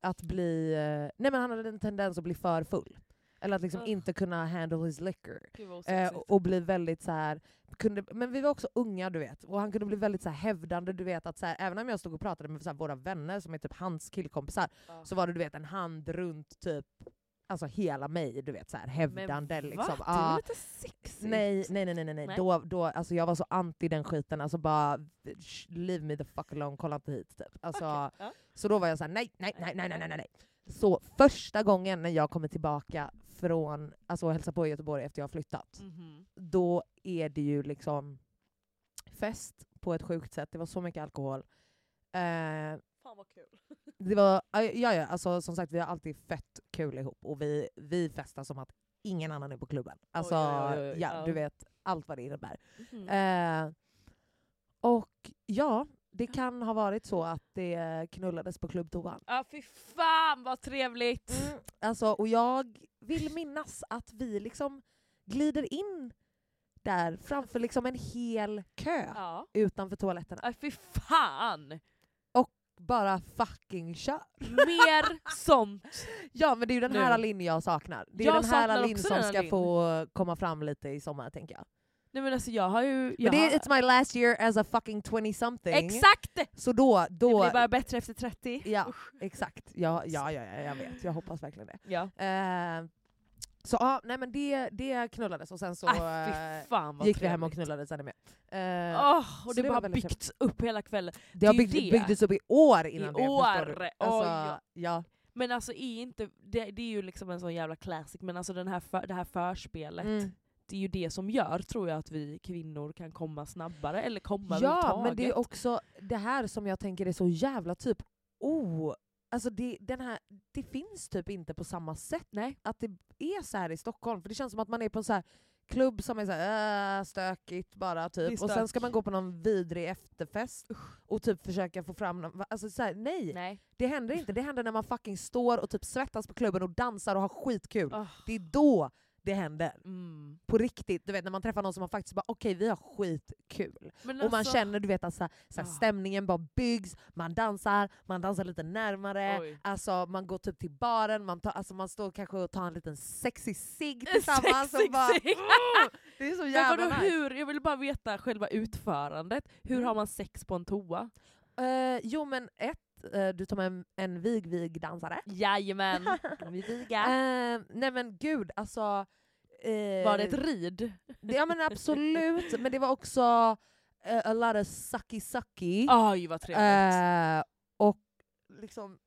att bli... Eh, nej men han hade en tendens att bli för full. Eller att liksom Ugh. inte kunna handle his liquor. Gud, vad Eh, osexigt. och- och bli väldigt så här, kunde, men vi var också unga du vet, och han kunde bli väldigt så här hävdande. Du vet att så här, även om jag stod och pratade med så här, våra vänner som är typ hans killkompisar, Ja. så var det du vet en hand runt typ alltså hela mig, du vet så här hävdande. Men liksom. va? Det är Ja. väl lite sexigt? Nej, nej, nej, nej, nej. nej. Nej. Då, då, alltså jag var så anti den skiten, alltså bara sh- leave me the fuck alone, kolla inte hit typ. Alltså, Okej, ja. Så då var jag såhär nej, nej, nej, nej, nej, nej, nej. Så första gången när jag kommer tillbaka från, alltså hälsa på i Göteborg efter jag har flyttat, Mhm. då är det ju liksom fest på ett sjukt sätt. Det var så mycket alkohol. Eh, Fan vad kul. det var, ja, ja, alltså, som sagt, vi har alltid fett kul ihop och vi, vi festar som att ingen annan är på klubben. Alltså, oj, oj, oj, ja, ja. du vet allt vad det innebär. Mhm. Eh, och ja, det kan ha varit så att det knullades på klubbtoan. Ja fy fan vad trevligt! Alltså, och jag vill minnas att vi liksom glider in där framför liksom en hel kö Ja. utanför toaletterna. Ja, fy fan! Bara fucking kör! Mer sånt! Ja men det är ju den Nu. här Linn jag saknar. Det är Jag den här saknar Linn också som den ska här Linn. få komma fram lite i sommar tänker jag. Nej men alltså jag har ju... Jag Men det har- är, it's my last year as a fucking 20 something. Exakt! Det Så då, då... blir bara bättre efter 30. Ja, exakt. Ja, ja, ja, ja, jag vet. Jag hoppas verkligen det. Ja. Eh, så ja, nej men det, det knullades och sen så Aj, eh, fy fan vad gick vi hem och trevligt. knullades ännu mer. Eh, Åh, Så och det det, var bara väldigt byggts upp hela kvällen. det har det är bygg, det. byggdes upp i år innan I det. förstår år. du. Oj, Alltså, ja. Men alltså är inte, det, det är ju liksom en sån jävla classic, men alltså den här för, det här förspelet, Mm. det är ju det som gör tror jag att vi kvinnor kan komma snabbare, eller komma Ja, men det är överhuvudtaget. också det här som jag tänker är så jävla typ oh, alltså det, den här, det finns typ inte på samma sätt Nej. att det är så här i Stockholm. För det känns som att man är på en så här klubb som är så här, äh, stökigt bara Det typ. är Och sen ska stök. man gå på någon vidrig efterfest och typ försöka få fram någon, alltså så här, nej, Nej. det händer inte. Det händer när man fucking står och typ svettas på klubben och dansar och har skitkul. Åh. Det är då det händer. Mm. På riktigt. Du vet när man träffar någon som man faktiskt bara okej vi har skitkul. Men Och man alltså- känner du vet att så, så Ja. stämningen bara byggs, man dansar, man dansar lite närmare, Oj. alltså, man går typ till baren, man, tar, alltså, man står kanske och tar en liten sexy cigg tillsammans. och Sexig bara, cigg. det är så Men jävla vadå, nice. Mm. hur, jag vill bara veta själva utförandet. Hur har man sex på en toa? Eh, jo men ett, eh, du tar med en, en vig vig dansare. Jajamän! Vi vigar. Eh, nej men gud alltså, eh, Var det ett rid? det- Ja men absolut, men det var också eh, a lot of sucky sucky. Oj Ah, vad trevligt. Eh, och liksom,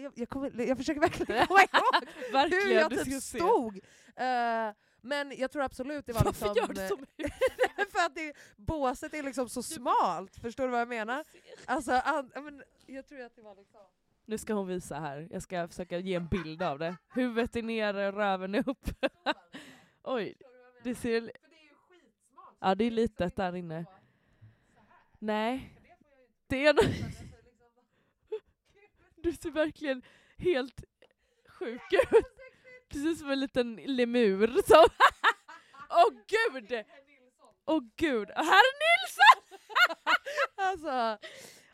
jag, jag, kommer, jag försöker verkligen komma ihåg hur Verkligen, jag du ska typ se. stod. Eh, men jag tror absolut det var Varför liksom... gör du så mycket? för att det, båset är liksom så smalt, förstår du vad jag menar? Alltså, an, ja, men, jag tror att det var liksom... Nu ska hon visa här, jag ska försöka ge en bild av det. Huvudet är ner, röven är upp. Oj, det ser... li- Ja det är litet där inne. Nej. Det är nog- Du ser verkligen helt sjuk ut. Du ser ut som en liten lemur som... Åh gud! Åh gud, Och här är Nilsson! Alltså, Ja.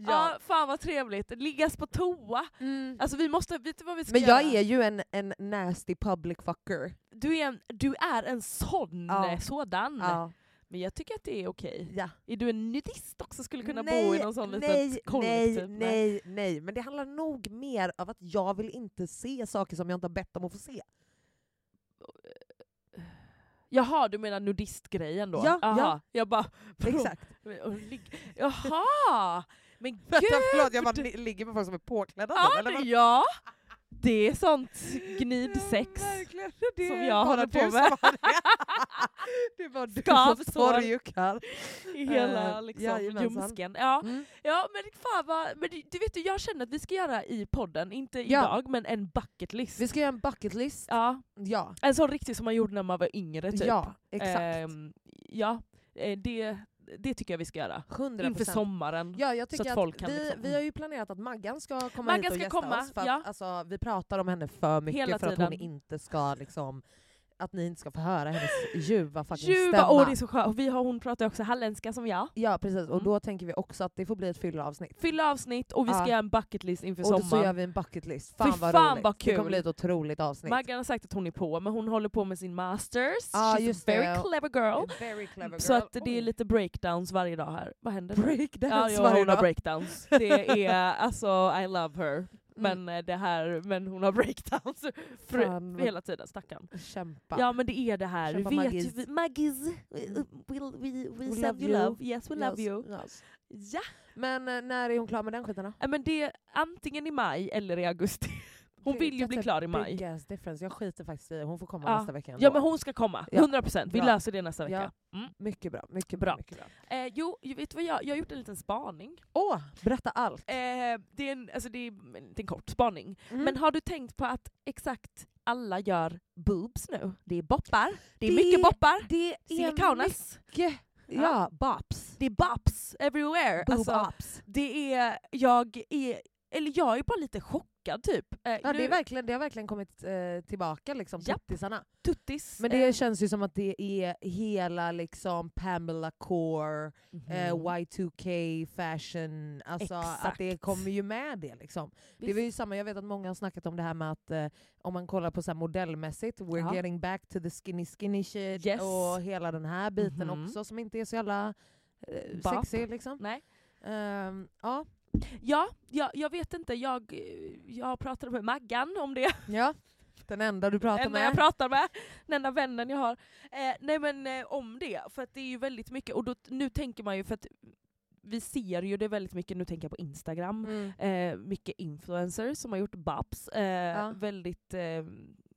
ja. fan vad trevligt, liggas på toa. Mm. Alltså vi måste, vet du vad vi ska Men jag göra? är ju en, en nasty public fucker. Du är en, du är en sån, Ja. sådan. Ja. Men jag tycker att det är okej. Ja. Är du en nudist också skulle kunna bo i någon sån nej, litet kollektiv? Nej, nej, nej. Men det handlar nog mer av att jag vill inte se saker som jag inte har bett om att få se. Jaha, du menar nudistgrejen då? Ja, Aha. ja. Jag bara... Exakt. Och ligg- Jaha! Men gud! Vänta, förlåt, jag bara li- ligger med folk som är påklädda. Ja, eller vad? det- ja. Det är sånt gnidsex. Ja, verkligen. Det som är jag bara håller på du med. som har det. Det var du som Skavsår. sorgukar. I hela Eh, liksom, jajamensan. ljumsken. Ja. Mm. ja, men fan vad... Men du, du vet ju, jag känner att vi ska göra i podden, inte Ja. idag, men en bucket list. Vi ska göra en bucket list. Ja, Ja, en sån riktig som man gjorde när man var yngre typ. ja exakt. Ehm, ja, eh, det, det tycker jag vi ska göra. 100%. Inför sommaren. Ja, jag tycker att att, folk kan vi, liksom- vi har ju planerat att Maggan ska komma Maggan hit och ska gästa komma, oss. För att, ja. alltså, vi pratar om henne för mycket Hela för att tiden. hon inte ska liksom, att ni inte ska få höra hennes ljuva fucking Ljuva, stämma. åh det är så skönt. Och Vi har, hon pratar också halländska som jag. Ja precis, och Mm. då tänker vi också att det får bli ett fylleavsnitt. Fylla avsnitt och vi ska Ja. göra en bucket list inför Och så gör sommaren. vi en bucket list. Fan Fy vad fan roligt. vad Det kul. kommer bli ett otroligt avsnitt. Maggan har sagt att hon är på, men hon håller på med sin masters. Ja, She's just a very det. clever girl. Very clever Så girl. att det är lite breakdowns varje dag här. Vad händer? nu? Ja, breakdance jag, varje hon har dag. breakdowns. Det är alltså, I love her. Men Mm. eh, det här, men hon har breakdowns för, Fan, vad- hela tiden, stackarn. Kämpa. Ja men det är det här, Köpa vet Maggis. vi, Maggis, we, we, we, we We send love you you. love, yes we love Yes, you. yes. Ja, Men eh, när är hon klar med den skiten då? Nej, men det är antingen i maj eller i augusti. Hon Det- vill ju that's bli a klar i maj. Big ass difference. Jag skiter faktiskt i det. hon får komma Ja. nästa vecka ändå. Ja men hon ska komma, Ja. 100%. Vi Bra. löser det nästa vecka. Mm. Mycket bra, mycket Bra. bra. Mycket bra. Eh, jo, jag vet vad jag, jag har gjort en liten spaning. Åh, berätta allt! Eh, det, är en, alltså det är en liten kort spaning. Mm. Men har du tänkt på att exakt alla gör boobs nu? Det är boppar, det är Det- mycket boppar, det är silikonas, mycket... Ja, bops. det är bops everywhere. Boob Alltså, ups. det är, jag är, eller jag är bara lite chockad typ. Eh, Ja, nu- det, är verkligen, det har verkligen kommit eh, tillbaka, liksom, Eh. Japp. tuttisarna. tuttis. Men det känns ju som att det är hela liksom, Pamela Core, eh, Y2K fashion, alltså, att det Exakt. kommer ju med det. Liksom. Det var ju samma, jag vet att många har snackat om det här med att eh, om man kollar på så här modellmässigt, we're Ja. getting back to the skinny skinny shit Yes. och hela den här biten Mhm. också som inte är så jävla eh, Bap. sexig liksom. Nej. Ehm, ja. Ja, ja, jag vet inte. Jag, eh, jag pratade med Maggan om det. ja, den enda du pratar enda med. jag pratar med. Den enda vännen jag har. Eh, nej men eh, om det, för att det är ju väldigt mycket. Och då, nu tänker man ju, för att vi ser ju det väldigt mycket, nu tänker jag på Instagram. mm. eh, mycket influencers som har gjort babs. Eh, Ja. Väldigt, eh,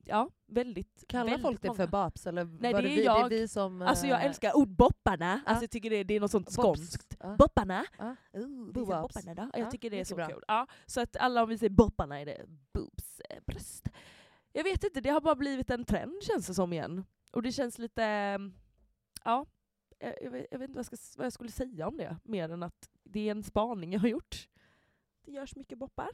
ja, väldigt. Kallar väldigt folk det för många. baps? Eller Nej, var det är vi, jag. det är vi som... Alltså jag eh, älskar ordbopparna, Ja. alltså jag tycker det, det är något sånt bops. skånskt. Ja. Bopparna! Ja. Ah. Ooh, Ah, vi Boobs. säger bopparna då. Jag Ja, tycker det är mycket så bra. kul. Ja, så att alla om vi säger bopparna är det boobs, eh, bröst. Jag vet inte, det har bara blivit en trend känns det som igen. Och det känns lite, eh, ja. Jag, jag, vet, jag vet inte vad jag, ska, s- vad jag skulle säga om det, mer än att det är en spaning jag har gjort. Det görs mycket boppar.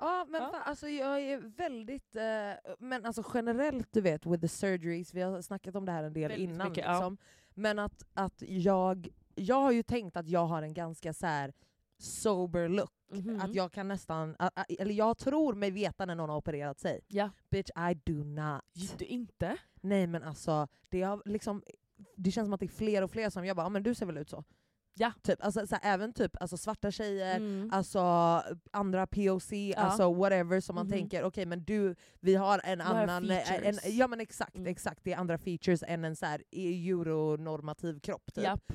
Ja, men Ja. Fan, alltså jag är väldigt... Eh, men alltså generellt, du vet, with the surgeries, vi har snackat om det här en del Väldigt innan. mycket, ja. liksom. Men att, att jag... Jag har ju tänkt att jag har en ganska så här sober look. Mhm. Mm. Att jag kan nästan... a- a- Eller jag tror mig veta när någon har opererat sig. Ja. Bitch, I do not. Du inte? Nej men alltså, det, har liksom, det känns som att det är fler och fler som jag bara, "Ja, men du ser väl ut så. Ja. Typ. Alltså, så här, även typ alltså, svarta tjejer, Mm. alltså andra POC, alltså whatever som man Mhm. tänker, okej men du, vi har en De här annan... eh, En, features. ja men exakt, Mm. exakt. Det är andra features än en så här e, euronormativ kropp typ. Japp.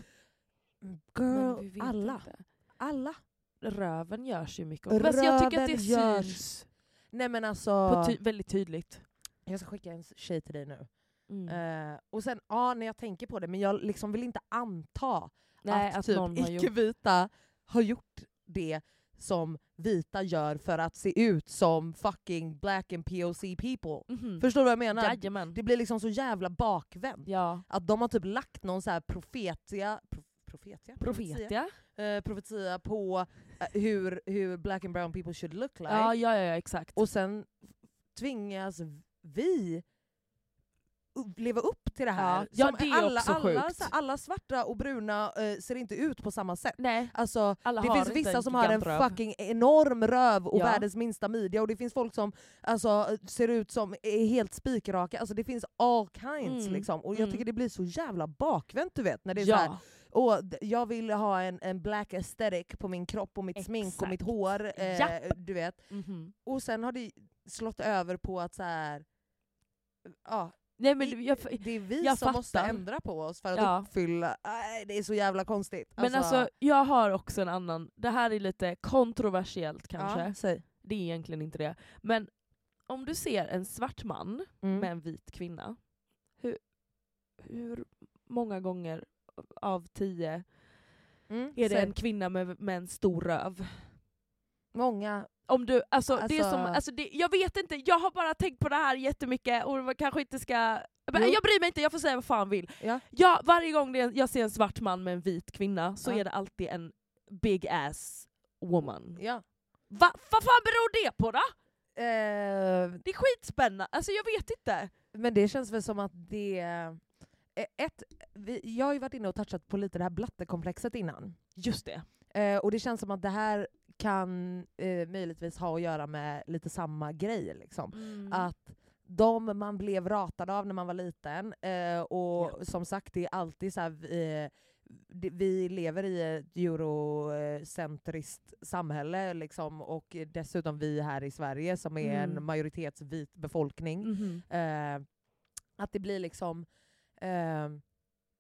Men vi Mm, Girl, vet alla. inte. Alla. Röven görs ju mycket. Röven jag tycker att det Röven görs. syns Nej men alltså... på ty- väldigt tydligt. jag ska skicka en tjej till dig nu. Mm. Eh, och sen, ja när jag tänker på det, men jag liksom vill inte anta Nej, att, att typ någon har gjort- icke-vita har gjort det som vita gör för att se ut som fucking black and POC people. Mhm. Förstår du vad jag menar? Jajamän. Det blir liksom så jävla bakvänt. ja. Att de har typ lagt någon så här profetia, pro, profetia? Profetia. Eh, profetia på eh, hur, hur black and brown people should look like. Ja, ja, ja, exakt. Och sen tvingas vi upp- leva upp till det här. Ja, ja, Som det är alla, också alla, sjukt. så här, alla svarta och bruna eh, ser inte ut på samma sätt. Nej, Alltså, alla det har finns inte vissa en som har en gigantröv. fucking enorm röv och Ja. världens minsta midja och det finns folk som alltså, ser ut som är helt spikraka. Alltså, det finns all kinds Mm. liksom. Och jag Mm. tycker det blir så jävla bakvänt du vet. När det är ja. så här, Åh, d- jag vill ha en, en black aesthetic på min kropp och mitt smink och mitt Exakt. hår. Eh, Japp. du vet. Mhm. Och sen har det slått över på att så här, ja, Nej, men jag, f- det är vi jag som måste fattar. ändra på oss för att Ja. uppfylla... Nej, det är så jävla konstigt. Men alltså, jag har också en annan, det här är lite kontroversiellt kanske, Ja, säg. det är egentligen inte det. Men om du ser en svart man Mm. med en vit kvinna, hur, hur många gånger av tio Mm, är det säg. en kvinna med, med en stor röv? Många... Om du, alltså, det är Alltså- som, alltså det, jag vet inte, jag har bara tänkt på det här jättemycket och man kanske inte ska... Men Jo. Jag bryr mig inte, jag får säga vad fan vill. Ja. Ja, varje gång det är, jag ser en svart man med en vit kvinna så Ja. är det alltid en big ass woman. ja. Va, vad fan beror det på då? Eh, Det är skitspännande, alltså jag vet inte. men det känns väl som att det... eh, Ett, vi, jag har ju varit inne och touchat på lite det här blattekomplexet innan. Just det. Eh, och det känns som att det här kan eh, möjligtvis ha att göra med lite samma grej. Liksom. Mm. Ah. att de man blev ratad av när man var liten, eh, och som sagt det är alltid så här, eh, det- vi lever i ett eurocentriskt samhälle liksom, och dessutom vi här i Sverige som är en Mm. majoritetsvit befolkning. Mhm. Eh, att det blir liksom eh,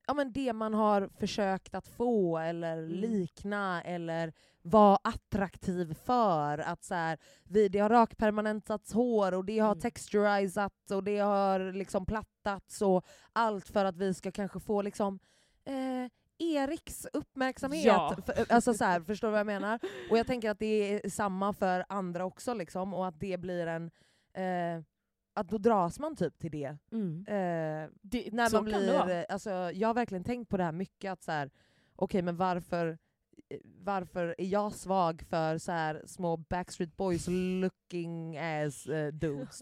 ja, men det man har försökt att få eller Mm. likna eller vara attraktiv för. Att så här, vi, det har rakpermanentats hår och det har Mm. texturizats och det har liksom plattats och allt för att vi ska kanske få liksom eh, Eriks uppmärksamhet. Ja. För, alltså så här, förstår du vad jag Ah. menar? Och jag tänker att det är samma för andra också liksom, och att det blir en... Eh, att då dras man typ till det. Mm. Eh, Det, när så man kan det vara. blir, alltså, jag har verkligen tänkt på det här mycket, att så här, okej men varför, eh, varför är jag svag för så här, små Backstreet Boys looking ass eh, dudes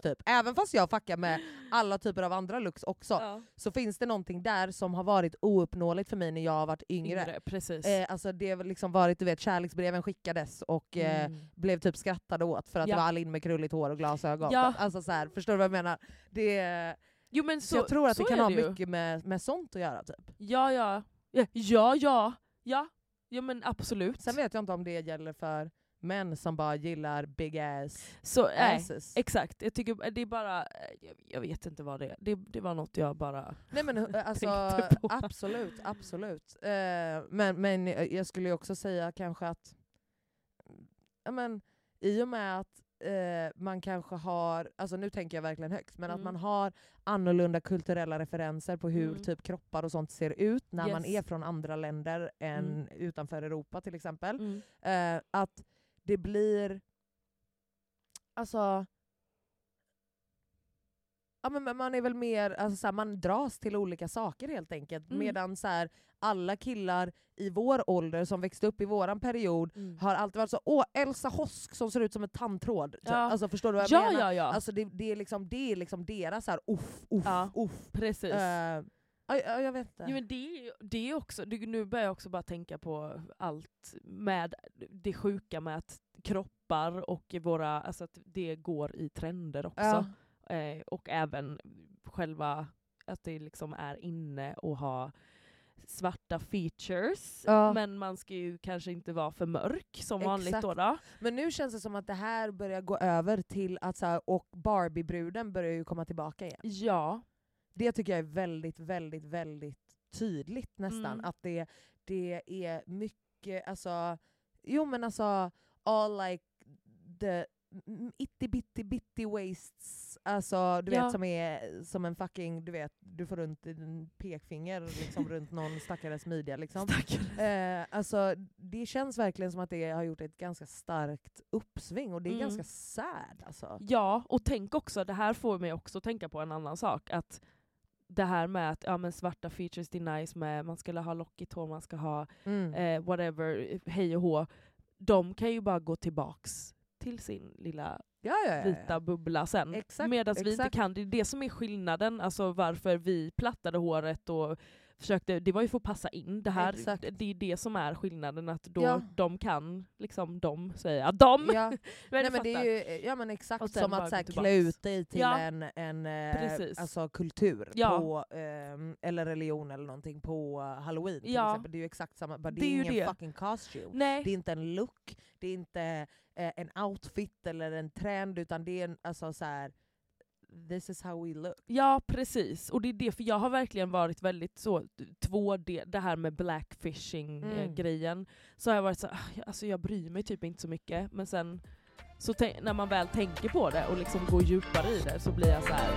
typ? Även fast jag fuckar med alla typer av andra looks också, Ja. så finns det någonting där som har varit ouppnåeligt för mig när jag har varit yngre. Yngre, precis. Eh, alltså det har liksom varit, du vet kärleksbreven skickades och eh, Mm. blev typ skrattade åt för att Ja. det var Alin med krulligt hår och glasögon. Ja. Alltså så här, förstår du vad jag menar? Det, Jo men så, så, jag tror att så det kan är ha ju. mycket med, med sånt att göra. Typ. Ja, ja. Ja, ja. Ja, ja. ja men absolut. Sen vet jag inte om det gäller för män som bara gillar big ass så, nej. asses. Exakt, jag tycker det är bara, eh, jag, jag vet inte vad det är. Det, det var något jag bara... Nej men hu- alltså, Tänkte på. absolut, absolut. Eh, men, men jag skulle ju också säga kanske att ja, men, i och med att eh, man kanske har, alltså nu tänker jag verkligen högt, men att Mm. man har annorlunda kulturella referenser på hur Mm. typ kroppar och sånt ser ut när man Yes. är från andra länder än Mm. utanför Europa till exempel. Eh, att det blir... Alltså... Ja, men men man är väl mer, alltså, så här, man dras till olika saker helt enkelt. Mm. Medan så här, alla killar i vår ålder som växte upp i våran period Mm. har alltid varit så åh Elsa Hosk som ser ut som en tandtråd. typ. Ja. Alltså, förstår du vad jag Ja, ja, menar? ja. Alltså, det, det, är liksom, det är liksom deras så här, uff, uff, Ja. uff. Precis. Eh, ja, ja, jag vet inte. Jo, men det, är ju- det är också, det- nu börjar jag också bara tänka på allt med det sjuka med att kroppar och våra, alltså att det går i trender också. ja. Eh, och även själva att det liksom är inne och ha svarta features, Ja. men man ska ju kanske inte vara för mörk som vanligt då. Exakt. då. Men nu känns det som att det här börjar gå över till att så här, och Barbie-bruden börjar ju komma tillbaka igen. Ja. Det tycker jag är väldigt, väldigt, väldigt tydligt nästan. Mm. Att det, det är mycket, alltså, jo men alltså all like the m- itty bitty bitty waists, alltså du Ja. vet som är som en fucking, du vet, du får runt en pekfinger liksom runt någon stackares midja liksom. Stackare. Eh, alltså, det känns verkligen som att det har gjort ett ganska starkt uppsving och det är Mm. ganska sad alltså. Ja, och tänk också, det här får mig också tänka på en annan sak. Att det här med att ja, men svarta features det är nice med, man skulle ha lockigt hår, man ska ha Mm. eh, whatever, hej och hå. De kan ju bara gå tillbaks till sin lilla ja, ja, ja, ja. vita bubbla sen. Eh, Exakt, Medan vi inte exakt. kan, det är det som är skillnaden, alltså varför vi plattade håret och försökte, det var ju för att passa in. Det, här, Exakt. det är det som är skillnaden, att då Ja. de kan, liksom de säga de! Ja. Men Nej, du men det fattar. är ju ja, men Och exakt sen som bara att så här, gå klä ut dig till Ja. en, en Precis. eh, alltså, kultur, Ja. på, ehm, eller religion eller någonting på eh, halloween till Ja. exempel. Det är ju exakt samma, bara det, Det är ju är ingen det. fucking costume. Nej. Det är inte en look, det är inte eh, en outfit eller en trend utan det är en, alltså, så här, this is how we look. Ja precis, och det är det, för jag har verkligen varit väldigt så, t- två det, det här med Mm. blackfishing-grejen, så har jag varit så "Ah, jag- alltså jag bryr mig typ inte så mycket, men sen så tän- när man väl tänker på det och liksom går djupare i det så blir jag så här.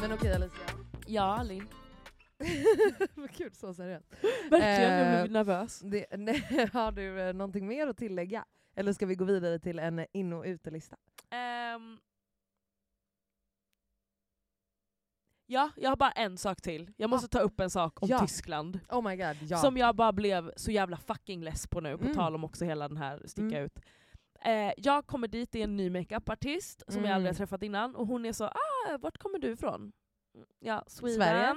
Men okej Alicia. ja Linn, Vad kul, så seriöst. verkligen, jag Eh, blev nervös. Det, nej, har du eh, någonting mer att tillägga? Eller ska vi gå vidare till en eh, in och utelista? Ehm. Ja, jag har bara en sak till. Jag måste ta upp en sak om Ja. Tyskland. Oh my god, ja. Som jag bara blev så jävla fucking less på nu, på Mm. tal om också hela den här sticka Mm. ut. Eh, jag kommer dit, det är en ny makeupartist som jag aldrig har Mm. träffat innan, och hon är så ah, vart kommer du ifrån? Mm, Ja, Sweden. Sverige.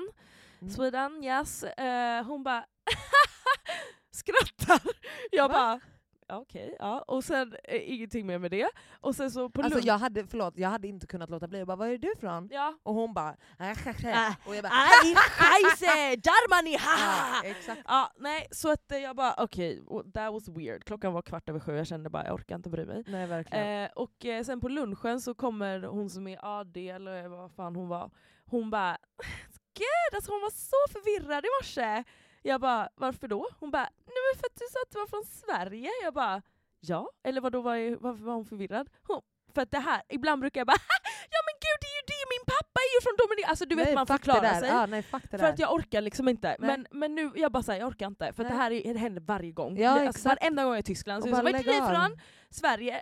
Mm. Sweden, yes. Eh, hon bara skrattar. Jag Va? bara "Ja, okej, ja. Och sen eh, ingenting mer med det. Och sen så på Alltså lunch... jag hade, förlåt, jag hade inte kunnat låta bli. Jag bara, var är du ifrån? Ja. Och hon bara, äh, och jag bara, Ay, Scheiße, Germany, haha! ja, exakt. Ja, nej, så att eh, jag bara okej, okay, that was weird. Klockan var kvart över sju, jag kände bara jag orkar inte bry mig. Nej verkligen. Eh, och eh, sen på lunchen så kommer hon som är AD eller vad fan hon var, hon bara Gud alltså hon var så förvirrad i morse. Jag bara varför då? Hon bara nej men för att du sa att du var från Sverige. Jag bara ja, eller vadå var, är- varför var hon förvirrad? Hon, för att det här, ibland brukar jag bara ja men gud det är ju det, min pappa är ju från Dominika. Alltså du vet nej, man fuck det förklarar där. sig. Ja, nej fuck det För där. att jag orkar liksom inte. Nej. Men, men nu, jag bara säger jag orkar inte. För att det Nej. här är, det händer varje gång. Ja, alltså, exakt. varenda gång jag är i Tyskland så Och är det så, bara "Vart är ni lägg av." ifrån? Sverige.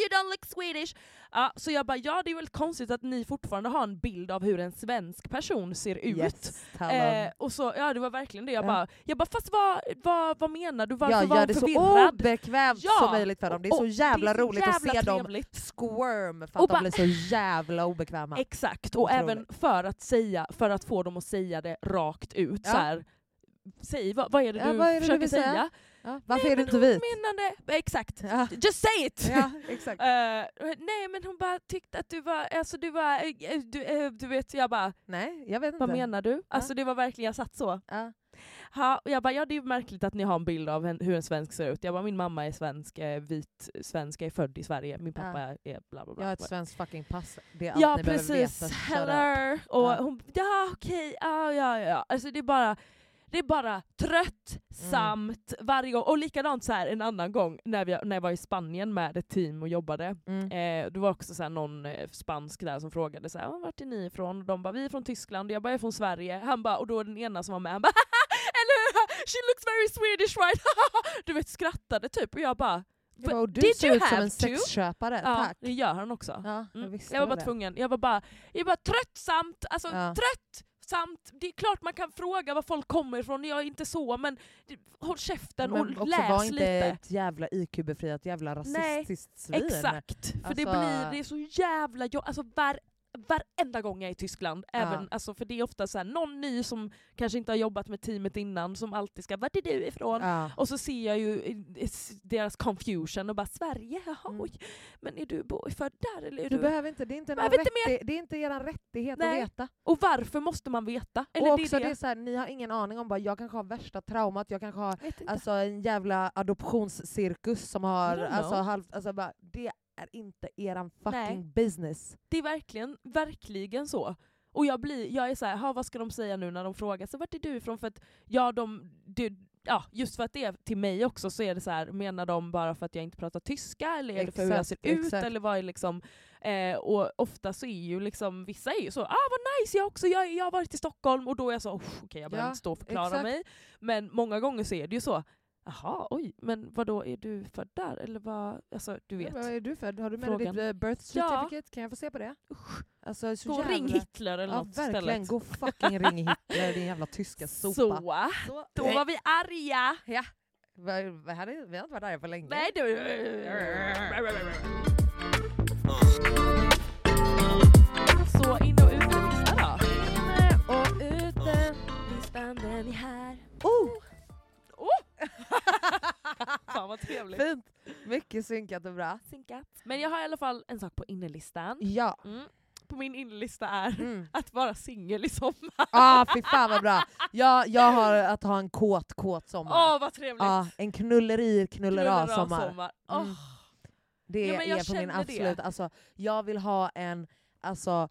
you don't look Swedish. Ja, så jag bara, ja det är väldigt konstigt att ni fortfarande har en bild av hur en svensk person ser ut. Yes, talon. Eh, och så, ja det var verkligen det. Jag Ja. bara, jag bara fast vad, vad, vad menar du? Varför ja, var gör hon det så förvirrad? obekvämt Ja, som möjligt för dem. Det är och- så jävla det är så roligt att jävla se dem trevligt. squirm för Och att bara- "Äh!" de blir så jävla obekväma. Exakt, och Otroligt. även för att, säga, för att få dem att säga det rakt ut. Ja. Så här, säg vad, vad är det Ja, du vad är det du försöker vill säga? säga? Ja, varför Nej, är du men inte hon vit? Menade, exakt, Ja, just say it! ja, exakt. Eh, nej men hon bara tyckte att du var, alltså du var, eh, du, eh, du vet jag bara, Nej, jag vet inte. vad menar du? Alltså det var verkligen, jag satt så. Ja. Ha, och jag bara, ja det är ju märkligt att ni har en bild av en, hur en svensk ser ut. Jag bara, min mamma är svensk, eh, vit svensk, är född i Sverige, min Ja. pappa är bla bla bla. Jag har ett svenskt fucking pass. Det är allt Ja ni precis, behöver veta. Shut up. hello! Och Ja. hon ja okej, ja ja ja. Alltså det är bara, det är bara Mm. tröttsamt varje gång. Och likadant så här en annan gång när, vi, när jag var i Spanien med ett team och jobbade. Mm. Eh, det var också så här någon eh, spansk där som frågade så här, "Ah, vart är ni ifrån? Och de bara vi är från Tyskland och jag bara jag är från Sverige. Han bara, och då den ena som var med han bara eller hur? She looks very Swedish right? du vet skrattade typ och jag bara Jag bara, och du Did you ser ut som have en to? sexköpare, ja tack. det gör han också. Ja, jag Mm. visste Jag var väl bara det. tvungen. Jag var bara, jag var bara tröttsamt. Alltså, Ja. tröttsamt. Det är klart man kan fråga var folk kommer ifrån, jag är inte så men det- håll käften Men och också läs var inte lite. ett jävla IQ-befriat jävla Nej, rasistiskt svin. Exakt, för det Alltså- blir det är så jävla jobbigt. Alltså varenda gång jag är i Tyskland. Även, Ja. alltså, för det är ofta så här, någon ny som kanske inte har jobbat med teamet innan som alltid ska “vart är du ifrån?” Ja. Och så ser jag ju eh, s- deras confusion och bara “Sverige, jaha, Mm. oj, men är du bo- född där eller är Du du?” behöver inte, det är inte, en Behöver inte rätti- det är inte er rättighet Nej. att veta. Och varför måste man veta? och Eller det också är det det. är så här, ni har ingen aning om bara, jag kanske har värsta traumat, jag kanske har Vet inte. alltså, en jävla adoptionscirkus som har... I don't Alltså, know. halv, alltså, bara, det är inte eran fucking Nej. business. Det är verkligen, verkligen så. Och jag, blir, jag är så här, "Ha, vad ska de säga nu när de frågar så vart är du ifrån? För att, ja, de, du, ja, just för att det är till mig också så är det så här, menar de bara för att jag inte pratar tyska eller är det för hur jag ser Exakt, ut? exakt. Eller vad är liksom, eh, och ofta så är ju liksom, vissa är ju så, ah vad nice jag också, jag, jag har varit i Stockholm och då är jag så, "Oh, okej jag behöver Ja, inte stå och förklara exakt. mig. Men många gånger så är det ju så, jaha oj, men vad då är du född där? Eller vad, alltså du vet. Vad är du född? Har du med dig Frågan. ditt eh, birth Ja. certificate? Kan jag få se på det? Usch. Alltså, så Gå och jävla- ring Hitler eller Ja, något verkligen. istället. Gå fucking ring Hitler din jävla tyska sopa. Eh, Så, Så. då var vi arga! Ja. Vi, vi, hade, vi har inte varit arga på länge. Nej du! Så in och utelista då. Och ute... Listan den är här. Oh! Oh! Fan vad trevligt. Fint! Mycket synkat och bra. Synkat. Men jag har i alla fall en sak på innerlistan. Ja. Mm. På min innerlista är Mm. att vara singel i sommar. Ah, fy fan vad bra! Jag, jag har att ha en kåt, kåt sommar. Åh vad trevligt! Ja, en knulleri knullerad Knullar av sommar. Åh, Mm. Det Ja, men jag är på min känner det. absolut... Alltså, jag vill ha en... Alltså,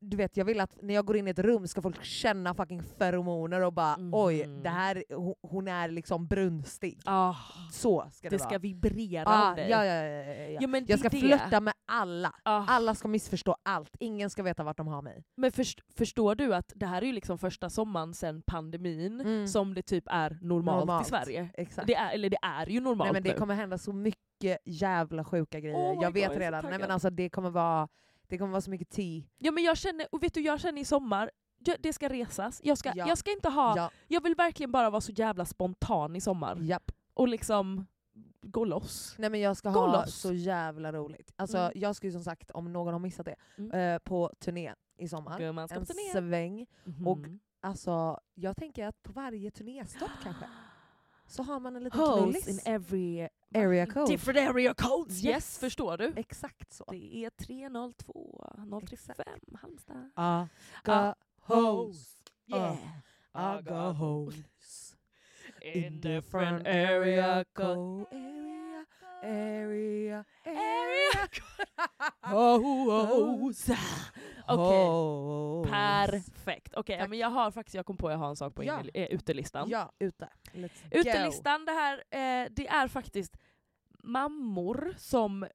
du vet, jag vill att när jag går in i ett rum ska folk känna fucking feromoner och bara Mhm. oj, det här, hon, hon är liksom brunstig. ah, Så ska det, det vara. ska vibrera ah, av dig. ja, ja, ja, ja, ja. Ja, men det är Jag ska det. flörta med alla. Ah. Alla ska missförstå allt, ingen ska veta vart de har mig. Men först, förstår du att det här är ju liksom första sommaren sedan pandemin Mm. som det typ är normalt, Normalt. i Sverige. Exakt. Det är, eller det är ju normalt Nej, men det nu. kommer hända så mycket jävla sjuka grejer. Oh my jag vet God, jag är så redan. Nej, men taggad. alltså, det, kommer vara, det kommer vara så mycket tea. Ja men jag känner, och vet du jag känner i sommar, jag, det ska resas. Jag ska, Ja. jag ska inte ha, Ja, jag vill verkligen bara vara så jävla spontan i sommar. japp. Och liksom gå loss. Nej, men jag ska Gå ha loss. så jävla roligt. Alltså, Mm. Jag ska ju som sagt, om någon har missat det, Mm. eh, på turné i sommar. Gumman ska En på turné. sväng. Mhm. och- Alltså, jag tänker att på varje turnéstopp kanske, så har man en liten Holes in knullis. every Area code. different area codes. Yes, Yes. förstår du? Exakt så. Det är 302 035 Halmstad. Ah, Ah, ga hoes. Yeah. Ah, ga hoes. In different area area code. Area, area, Area area. Ah. Hoes. Okej, Hoes. perfekt. Okej, ja, Tack. men jag har faktiskt, jag kom på att jag har en sak på Ja. ja. utelistan. Ja, ute. Let's go. Utelistan, det här eh, det är faktiskt mammor som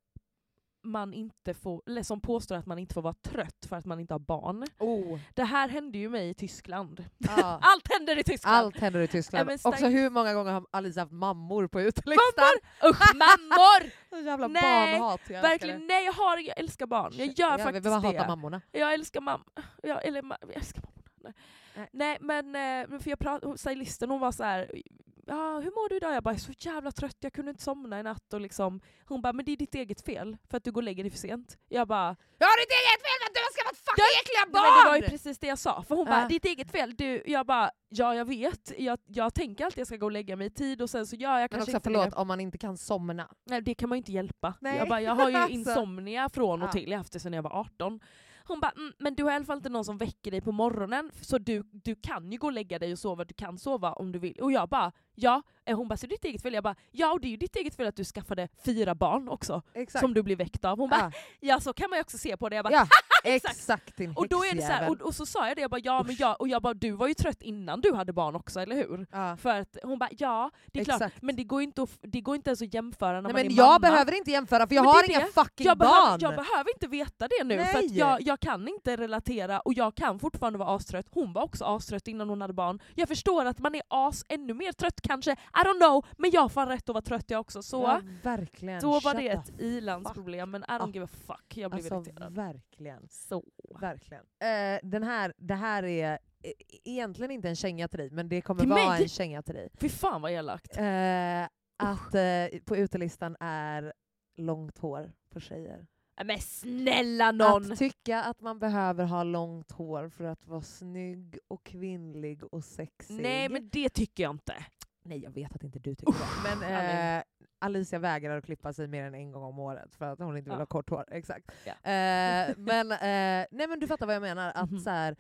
man inte får, eller som påstår att man inte får vara trött för att man inte har barn. Oh. Det här hände ju mig i Tyskland. Ah. Allt händer i Tyskland! Allt händer i Tyskland. Ja, men stark- Också hur många gånger har Alice haft mammor på utelistan? Mammor! Usch mammor! Så jävla Nej, barnhat. jag älskar Verkligen, nej jag, har, jag älskar barn. Jag det. gör jag vill faktiskt bara hata det. mammorna. Jag älskar mamma. Jag, eller, ma- jag älskar mammorna. Nej. Nej. Nej. men eh, men för jag prat, hon- stylisten hon var så här. Ja, hur mår du idag? Jag bara, jag är så jävla trött, jag kunde inte somna i natt. Och liksom, hon bara, men det är ditt eget fel för att du går och lägger dig för sent. Jag bara, Jag har ditt eget fel för att du har skaffat fucking äckliga Nej, men det var ju precis det jag sa. För hon Ja. bara, ditt eget fel. Du, jag bara, ja jag vet. Jag, jag tänker alltid jag ska gå och lägga mig i tid och sen så gör jag Men kanske också inte förlåt det. om man inte kan somna. Nej det kan man ju inte hjälpa. Nej. Jag, bara, jag har ju Alltså. insomnia från och Ja. till, jag har haft det sedan jag var 18. Hon bara, mm, men du har i alla fall inte någon som väcker dig på morgonen så du, du kan ju gå och lägga dig och sova, du kan sova om du vill. Och jag bara, ja. Eh, Hon bara, så det är ditt eget fel? Jag bara, ja och det är ju ditt eget fel att du skaffade fyra barn också. Exakt. Som du blir väckt av. Hon bara, ja. ja så kan man ju också se på det. Jag bara, ja, exakt din och då är det så här, häxjävel. och, och så sa jag det, jag bara, ja, men jag, och jag bara, du var ju trött innan du hade barn också, eller hur? Ja. För att hon bara, ja det är Exakt. klart, men det går ju inte, att, f- det går inte ens att jämföra när Nej, man men är jag mamma. behöver inte jämföra för jag Men det har är inga det. fucking jag barn! behöver, jag behöver inte veta det nu för Nej. att jag, jag kan inte relatera och jag kan fortfarande vara astrött. Hon var också astrött innan hon hade barn. Jag förstår att man är as ännu mer trött kanske, I don't know, men jag har fan rätt att vara trött jag också. Så ja, verkligen. då var Shut det the ett i-landsproblem men I don't up. give a fuck, jag blev Alltså irriterad. verkligen. Så. verkligen. Eh, den här, det här är e- egentligen inte en känga till dig, men det kommer Till vara mig? en känga till dig. Fy fan vad elakt. Eh, att eh, på utelistan är långt hår på tjejer. Äh, Men snälla någon! Att tycka att man behöver ha långt hår för att vara snygg och kvinnlig och sexig. Nej men det tycker jag inte. Nej jag vet att inte du tycker det. Men eh, Alicia vägrar att klippa sig mer än en gång om året för att hon inte vill Ja. ha kort hår. Exakt. Ja. Eh, men, eh, nej men du fattar vad jag menar. Att, Mhm. så här,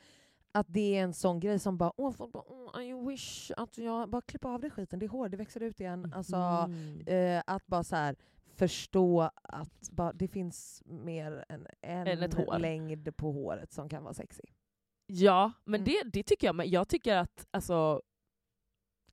att det är en sån grej som bara åh, folk bara, åh, I wish att jag bara klippa av den skiten, det är hår, det växer ut Mhm. igen. Alltså, Mm. eh, att bara så här, förstå att bara, det finns mer än Än en ett hår. längd på håret som kan vara sexy. Ja, men Mm. det, det tycker jag. Men jag tycker att alltså,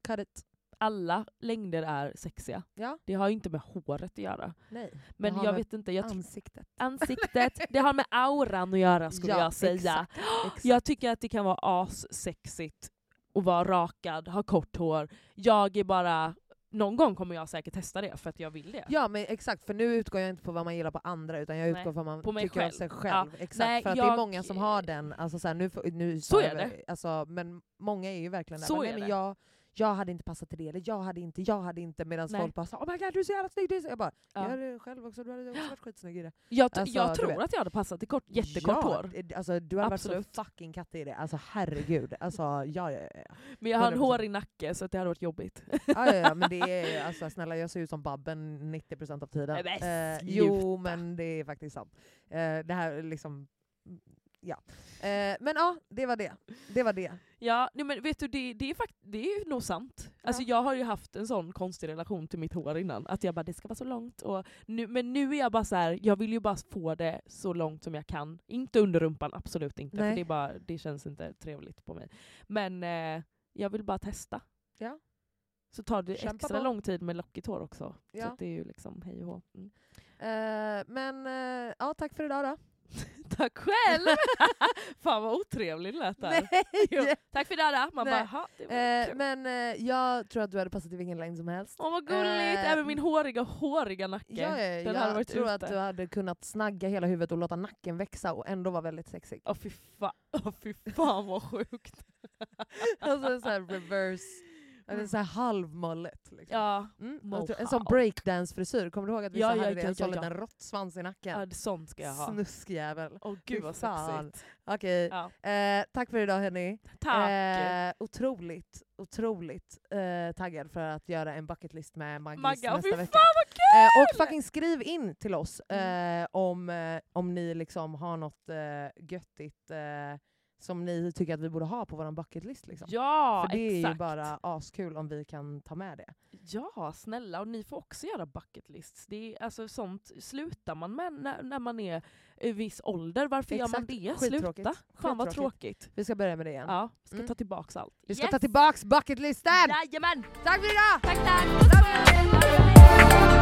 Cut it. alla längder är sexiga. Ja. Det har ju inte med håret att göra. Nej. Men Det har jag med vet inte, jag tror Ansiktet. ansiktet, det har med auran att göra skulle Ja, jag säga. exakt, exakt. Jag tycker att det kan vara assexigt att vara rakad, ha kort hår. Jag är bara... Någon gång kommer jag säkert testa det för att jag vill det. Ja men exakt, för nu utgår jag inte på vad man gillar på andra utan jag Nej, utgår på vad man på mig tycker om själv. sig själv. Exakt, nej, för att det är jag- många som har den, alltså så här, nu, får- nu Så sa jag är väl- Alltså, men många är ju verkligen där, Så bara, är nej, men det. jag, jag hade inte passat till det, eller jag hade inte, jag hade inte, medan Nej. folk bara sa, oh my god du är så jävla snygg, du är så... jag bara, Ja. jag hade själv också, du hade också varit skitsnygg i det. Jag, t- Alltså, jag du vet. tror att jag hade passat i kort, jättekort ja, hår. det- Alltså, du hade varit Absolut. så fucking kattig i det, alltså herregud. Alltså, ja, ja, ja, ja. Men jag har en 100%. hårig nacke så att det hade varit jobbigt. ja, ja, ja men det är, alltså, snälla jag ser ut som Babben 90% av tiden. Nej, men Eh, jo sluta. men det är faktiskt sant. Eh, det här är liksom, ja. Eh, men ja, det var det. Det var det. Ja, nej, men vet du, det, det, är fakt- det är ju nog sant. Alltså, Ja. Jag har ju haft en sån konstig relation till mitt hår innan. Att jag bara, det ska vara så långt. Och nu, men nu är jag bara så här, jag vill ju bara få det så långt som jag kan. Inte under rumpan, absolut inte. Nej. För det, är bara, det känns inte trevligt på mig. Men eh, jag vill bara testa. Ja. Så tar det Kämpa extra på. lång tid med lockigt hår också. Ja. Så att det är ju liksom hej och hå. Mm. Eh, men eh, ja, tack för idag då. Tack själv! Fan vad otrevligt lät det här. Jo, Tack för idag då. Man Nej. bara, "Jaha, det var Eh, kul." men eh, jag tror att du hade passat i vilken längd som helst. Åh vad gulligt! Eh, Även min håriga, håriga nacke. Ja, ja, Den hade jag varit tror ute. att du hade kunnat snagga hela huvudet och låta nacken växa och ändå vara väldigt sexig. Åh fy, fa- åh, fy fan vad sjukt. alltså så här reverse, eller så här halvmollet. Liksom. Ja, Mm, jag tror- en sån Mohawk. breakdance-frisyr, kommer du ihåg att vissa Ja, ja, hade det? ja, En sån ja, ja. liten råttsvans i nacken. ja sånt ska jag ha. Snuskjävel. Åh gud vad fan. sexigt. Okej, Ja. eh, tack för idag hörni. Tack! Eh, otroligt, otroligt eh, taggad för att göra en bucketlist med Maggis Magga, åh fy fan nästa vecka. vad Eh, kul! Mm. och fucking skriv in till oss eh, om, eh, om ni liksom har något eh, göttigt eh, som ni tycker att vi borde ha på vår bucketlist. Liksom. Ja, För det exakt. är ju bara askul om vi kan ta med det. Ja, snälla. Och ni får också göra bucket lists. Det är, alltså, sånt slutar man med när, när man är i viss ålder. Varför gör man Exakt. det? Skittråkigt. Sluta. Fan vad Skittråkigt. tråkigt. Vi ska börja med det igen. Ja, vi ska Mm. ta tillbaka allt. Vi ska ta tillbaks bucketlisten! Jajamän! Tack för idag! Tack, tack! Puss, puss.